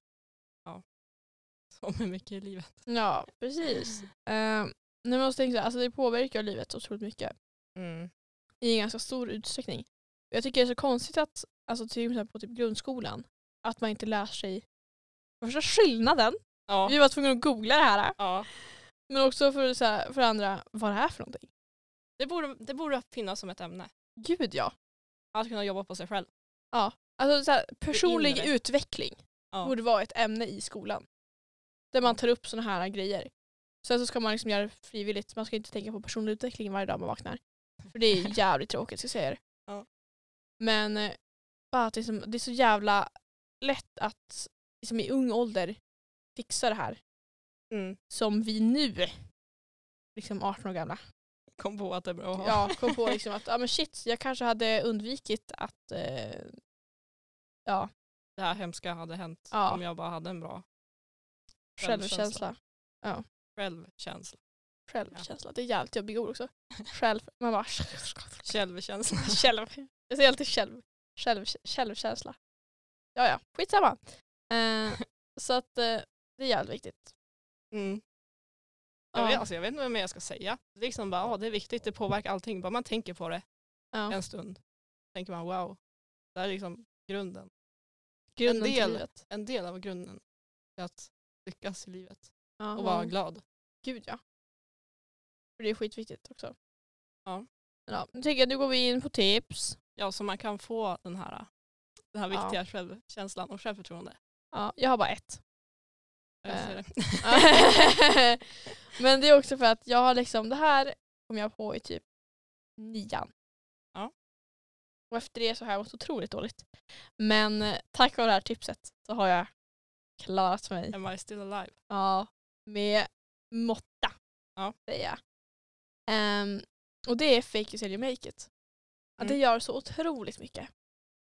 Speaker 2: Som är mycket i livet.
Speaker 1: Ja, precis. Um, nu måste jag tänka så här, alltså det påverkar livet otroligt mycket.
Speaker 3: Mm.
Speaker 1: i en ganska stor utsträckning. Jag tycker det är så konstigt att, alltså till exempel på typ grundskolan, att man inte lär sig första skillnaden.
Speaker 2: Ja.
Speaker 1: Vi var tvungna att googla det här.
Speaker 2: ja.
Speaker 1: Men också för, så här, för andra, vad det här är för någonting.
Speaker 2: Det, borde, det borde finnas som ett ämne.
Speaker 1: Gud ja.
Speaker 2: Att kunna jobba på sig själv.
Speaker 1: Alltså så här, personlig
Speaker 2: inre.
Speaker 1: utveckling
Speaker 2: Ja.
Speaker 1: borde vara ett ämne i skolan. Där man tar upp sådana här grejer. Sen så ska man liksom göra det frivilligt. Man ska inte tänka på personlig utveckling varje dag man vaknar. För det är jävligt tråkigt ska jag säga er.
Speaker 2: Ja.
Speaker 1: Men eh, bara att liksom, det är så jävla lätt att liksom, i ung ålder fixa det här.
Speaker 3: Mm.
Speaker 1: Som vi nu, liksom 18 år gamla,
Speaker 2: Kom på att det är bra att ha.
Speaker 1: ja, kom på liksom att ah, men shit, jag kanske hade undvikit att eh, ja,
Speaker 2: Det här hemska hade hänt
Speaker 1: Ja.
Speaker 2: om jag bara hade en bra Självkänsla.
Speaker 1: självkänsla.
Speaker 2: självkänsla.
Speaker 1: Självkänsla, det är jävligt jobbiga ord också. Själv, man bara
Speaker 2: Självkänsla.
Speaker 1: själv. Jag säger alltid själv. själv självkänsla. Ja, ja, skitsamma. Eh, så att eh, det är jävligt viktigt.
Speaker 2: Mm. Jag,
Speaker 1: Ja,
Speaker 2: vet, alltså, jag vet inte vad mer jag ska säga. Det är Liksom bara, ja, det är viktigt, det påverkar allting. Bara man tänker på det
Speaker 1: ja.
Speaker 2: en stund. Tänker man wow, det här är liksom grunden.
Speaker 1: Grunden
Speaker 2: en del.
Speaker 1: till livet.
Speaker 2: En del av grunden till att lyckas i livet
Speaker 1: Ja,
Speaker 2: och vara
Speaker 1: man-
Speaker 2: glad.
Speaker 1: Gud ja. För det är skitviktigt också.
Speaker 2: Ja.
Speaker 1: ja nu tänker jag nu går vi in på tips.
Speaker 2: Ja, så man kan få den här, den här
Speaker 1: Ja.
Speaker 2: viktiga självkänslan och självförtroende.
Speaker 1: Ja, jag har bara ett.
Speaker 2: Jag
Speaker 1: Äh.
Speaker 2: ser det.
Speaker 1: Men det är också för att jag har liksom, det här kom jag på i typ nian.
Speaker 2: Ja.
Speaker 1: Och efter det så har jag mått otroligt dåligt. Men eh, tack vare det här tipset så har jag klarat mig.
Speaker 2: Am I still alive?
Speaker 1: Ja, med måtta.
Speaker 2: Ja.
Speaker 1: Säger jag. Ehm, och det är fake it till you make it. Ja, Det
Speaker 2: Mm.
Speaker 1: gör så otroligt mycket.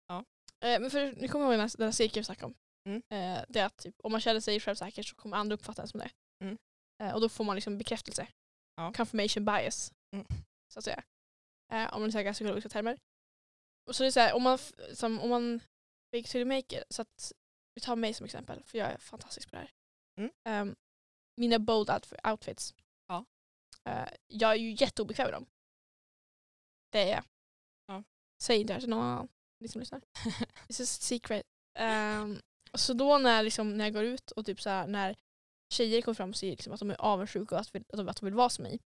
Speaker 2: Ja.
Speaker 1: Eh, men för, nu kommer jag ihåg den här- den här cirkeln vi snackade om.
Speaker 2: Mm.
Speaker 1: Eh, det är att typ, om man känner sig självsäker så kommer andra uppfatta en som det.
Speaker 2: Mm.
Speaker 1: Eh, och då får man liksom bekräftelse.
Speaker 2: Ja.
Speaker 1: Confirmation bias.
Speaker 2: Mm.
Speaker 1: Så att säga. Eh, om man säger psykologiska termer. Och så det är så här, om man, f- som, om man fake it till you make it. Så att vi tar mig som exempel för jag är fantastisk på det här ehm, mina bold outf- outfits.
Speaker 2: Ja.
Speaker 1: Eh, jag är ju jätteobekväm med dem. Det är jag.
Speaker 2: Ja.
Speaker 1: Säg inte det här till någon annan, ni som lyssnar. This is a secret. Ehm, så då när, liksom, när jag går ut och typ så här, när tjejer kommer fram och säger liksom, att de är avundsjuka och att, vill, att, de, att de vill vara som mig.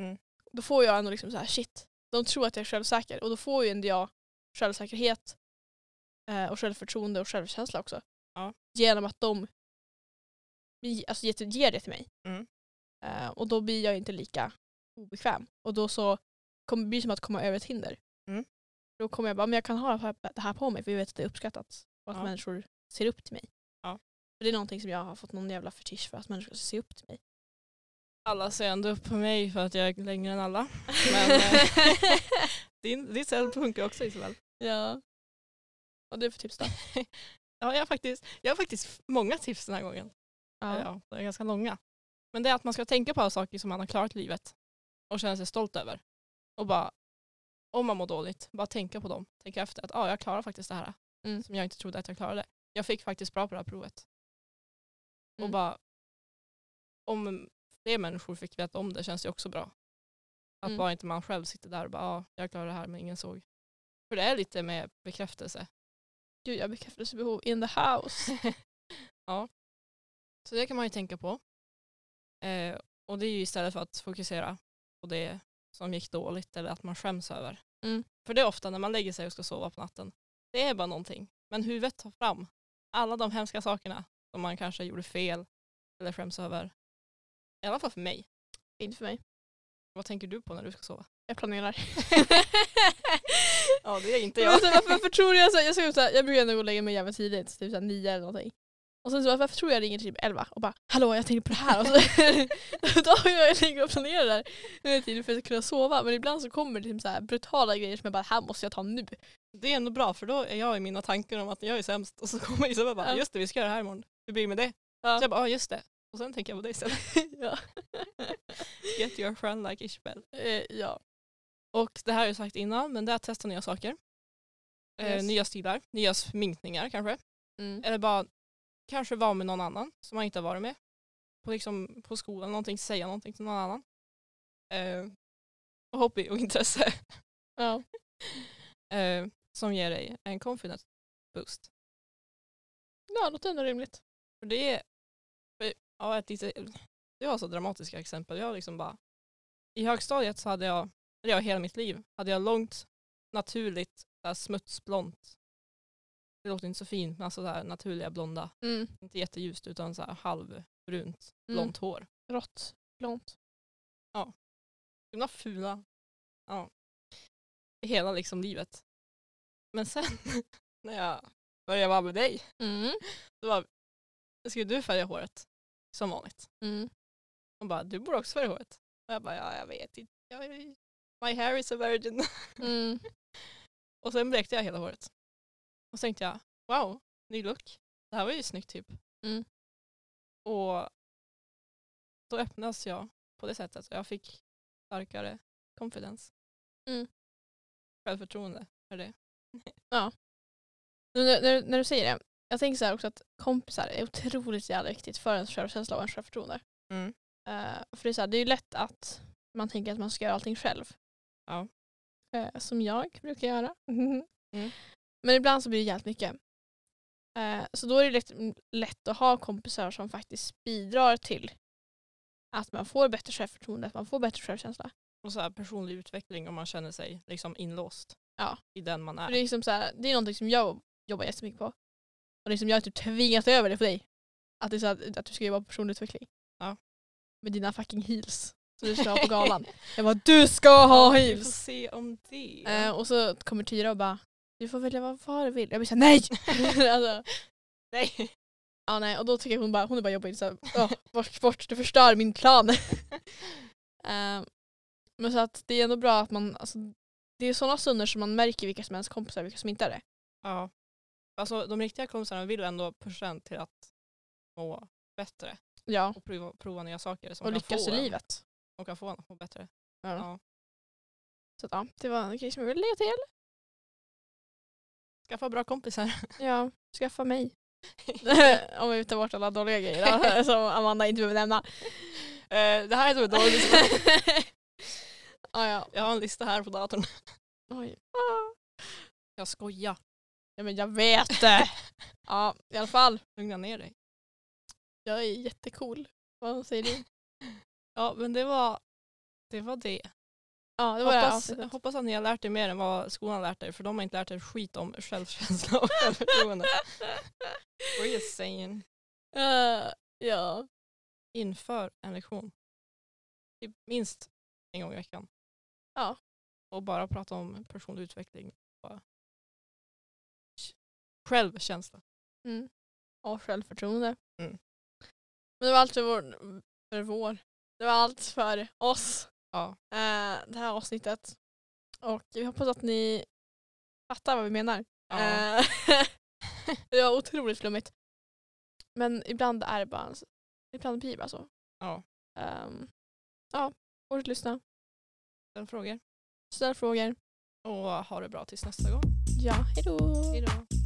Speaker 3: Mm.
Speaker 1: Då får jag ändå liksom så här, shit, de tror att jag är självsäker och då får ju ändå jag självsäkerhet eh, och självförtroende och självkänsla också.
Speaker 2: Ja.
Speaker 1: Genom att de ge- alltså, ge- ger det till mig.
Speaker 3: Mm.
Speaker 1: Eh, och då blir jag inte lika obekväm. Och då så kommer, blir det som att komma över ett hinder.
Speaker 3: Mm.
Speaker 1: Då kommer jag bara, men jag kan ha det här- det här på mig för jag vet att det är uppskattat. Och att
Speaker 2: Ja.
Speaker 1: människor ser upp till mig.
Speaker 2: Ja.
Speaker 1: För det är någonting som jag har fått någon jävla fetisch för, att människor ska se upp till mig.
Speaker 2: Alla ser ändå upp på mig för att jag är längre än alla. Men, eh, Din, ditt cell funkar också Isabel.
Speaker 1: ja. Vad du för tips då?
Speaker 2: Ja, jag, har faktiskt, jag har faktiskt många tips den här gången. Eh, Ja. de är ganska långa. Men det är att man ska tänka på alla saker som man har klarat i livet och känna sig stolt över. Och bara, om man mår dåligt, bara tänka på dem. Tänka efter att ah, jag klarar faktiskt det här
Speaker 1: Mm.
Speaker 2: som jag inte trodde att jag klarade. Jag fick faktiskt bra på det här provet.
Speaker 1: Mm.
Speaker 2: Och bara, om fler människor fick veta om det känns det också bra. Att
Speaker 1: Mm.
Speaker 2: bara inte man själv sitter där och bara, ah, jag klarade det här men ingen såg. För det är lite med bekräftelse.
Speaker 1: Gud, jag har bekräftelsebehov in the house.
Speaker 2: ja. Så det kan man ju tänka på. Eh, och det är ju istället för att fokusera på det som gick dåligt eller att man skäms över.
Speaker 1: Mm.
Speaker 2: För det är ofta när man lägger sig och ska sova på natten. Det är bara någonting. Men huvudet tar fram alla de hemska sakerna som man kanske gjorde fel eller skäms över. I alla fall för mig.
Speaker 1: Inte för mig.
Speaker 2: Vad tänker du på när du ska sova?
Speaker 1: Jag planerar.
Speaker 2: Ja, det är inte
Speaker 1: Men så, varför, varför tror jag så här, jag, ska, så här, jag brukar ändå gå och lägga mig jävligt tidigt, typ så här, nio eller någonting. Och sen så varför varför tror jag ringer typ elva och bara hallå jag tänkte på det här. Och så, då har jag ligger och planerar det här under tiden för att kunna sova. Men ibland så kommer det typ så här brutala grejer som jag bara här måste jag ta nu.
Speaker 2: Det är ändå bra för då är jag i mina tankar om att jag är sämst och så kommer Isabel och bara
Speaker 1: Ja.
Speaker 2: just det vi ska göra det här imorgon. Hur blir det med det?
Speaker 1: Ja.
Speaker 2: Så jag bara ja just det. Och sen tänker jag på dig istället.
Speaker 1: ja.
Speaker 2: Get your friend like Isabel.
Speaker 1: Eh, ja.
Speaker 2: Och det här har jag sagt innan men det är att testa nya saker. Eh,
Speaker 1: Yes.
Speaker 2: nya stilar, nya sminkningar kanske.
Speaker 1: Mm.
Speaker 2: Eller bara kanske vara med någon annan som man inte har varit med. På, liksom, på skolan någonting, säga någonting till någon annan. Eh, och hobby och intresse
Speaker 1: ja.
Speaker 2: eh, som ger dig en confidence boost.
Speaker 1: Ja, låter ändå rimligt.
Speaker 2: För det är, för, ja, ett lite, det var så dramatiska exempel. Jag liksom bara, I högstadiet så hade jag, eller jag hela mitt liv, hade jag långt, naturligt, så här smutsblont. Det låter inte så fint, men alltså så här naturliga blonda.
Speaker 1: Mm.
Speaker 2: Inte jätteljust utan så här halvbrunt,
Speaker 1: Mm.
Speaker 2: blont hår.
Speaker 1: Rått, blont.
Speaker 2: Så himla fula. Ja. Hela liksom livet. Men sen när jag började vara med dig,
Speaker 1: Mm.
Speaker 2: då var, skulle du färga håret som vanligt.
Speaker 1: Mm.
Speaker 2: Hon bara, du borde också färga håret. Och jag bara, ja jag vet inte. Jag, är- my hair is a virgin.
Speaker 1: Mm.
Speaker 2: Och sen blekte jag hela håret. Och så tänkte jag, wow, ny look. Det här var ju snyggt typ.
Speaker 1: Mm.
Speaker 2: Och då öppnas jag på det sättet. Jag fick starkare confidence.
Speaker 1: Mm.
Speaker 2: Självförtroende för det.
Speaker 1: Nu, när, när, när du säger det, jag tänker så här också att kompisar är otroligt jävla viktigt för ens självkänsla och ens självförtroende.
Speaker 2: Mm.
Speaker 1: Eh, för det är, så här, det är ju lätt att man tänker att man ska göra allting själv.
Speaker 2: Ja.
Speaker 1: Eh, som jag brukar göra.
Speaker 2: Mm.
Speaker 1: Men ibland så blir det jävligt mycket. Eh, så då är det lätt, lätt att ha kompisar som faktiskt bidrar till att man får bättre självförtroende, att man får bättre självkänsla.
Speaker 2: Och så här personlig utveckling om man känner sig liksom inlåst
Speaker 1: Ja.
Speaker 2: i den man är.
Speaker 1: För det, är liksom så här, det är någonting som jag jobbar jättemycket på. Och liksom jag har typ tvingat över det på dig. Att, det är så här, att du ska jobba på personlig utveckling.
Speaker 2: Ja.
Speaker 1: Med dina fucking heels. Som du ska ha på galan. jag bara du ska ha
Speaker 2: Ja, vi får
Speaker 1: heels!
Speaker 2: se om det.
Speaker 1: Eh, och så kommer Tyra och bara du får välja vad far du vill. Jag blir såhär nej! alltså,
Speaker 2: Nej.
Speaker 1: ja, nej! Och då tycker jag hon bara, hon är bara jobbig. Så här, "Åh, bort, bort, du förstör min plan. Eh, men så att det är ändå bra att man, alltså, det är sådana stunder som man märker vilka som är ens kompisar och vilka som inte är det.
Speaker 2: Ja. Alltså de riktiga kompisarna vill ändå pusha en till att må bättre
Speaker 1: Ja.
Speaker 2: och prova, prova nya saker som
Speaker 1: Och
Speaker 2: kan
Speaker 1: lyckas
Speaker 2: få
Speaker 1: i
Speaker 2: en-
Speaker 1: livet.
Speaker 2: och kan få en att må bättre.
Speaker 1: Ja.
Speaker 2: Ja.
Speaker 1: Så att, ja, det var en grej som jag ville lägga till.
Speaker 2: Skaffa bra kompisar.
Speaker 1: Ja, skaffa mig. Om vi tar bort alla dåliga grejer då, som Amanda inte behöver nämna.
Speaker 2: Eh, det här är så dåligt.
Speaker 1: ja, Ah, ja.
Speaker 2: jag har en lista här på datorn.
Speaker 1: Oj.
Speaker 2: Jag skojar.
Speaker 1: ja, men jag vet det. Ja, i alla fall.
Speaker 2: Lugna ner dig.
Speaker 1: Jag är jättecool. Vad säger du?
Speaker 2: Ja men det var det. Var det.
Speaker 1: Ja, det
Speaker 2: Hoppas,
Speaker 1: var det här avsnittet.
Speaker 2: hoppas att ni har lärt er mer än vad skolan har lärt er för de har inte lärt er skit om självkänsla och självförtroende. We're just saying.
Speaker 1: Eh, ja.
Speaker 2: inför en lektion. Typ Minst en gång i veckan.
Speaker 1: Ja.
Speaker 2: Och bara prata om personlig utveckling. och Självkänsla.
Speaker 1: Mm. Och självförtroende.
Speaker 2: Mm.
Speaker 1: Men det var allt för vår, för vår. Det var allt för oss.
Speaker 2: Ja.
Speaker 1: eh, det här avsnittet. Och vi hoppas att ni fattar vad vi menar.
Speaker 2: ja.
Speaker 1: Eh, det var otroligt flummigt. Men ibland är det bara, ibland blir det bara så.
Speaker 2: Ja.
Speaker 1: Ehm, ja, fortsätt lyssna.
Speaker 2: Ställ frågor.
Speaker 1: Ställ frågor.
Speaker 2: Och ha det bra tills nästa gång.
Speaker 1: Ja, hejdå.
Speaker 2: Hej då.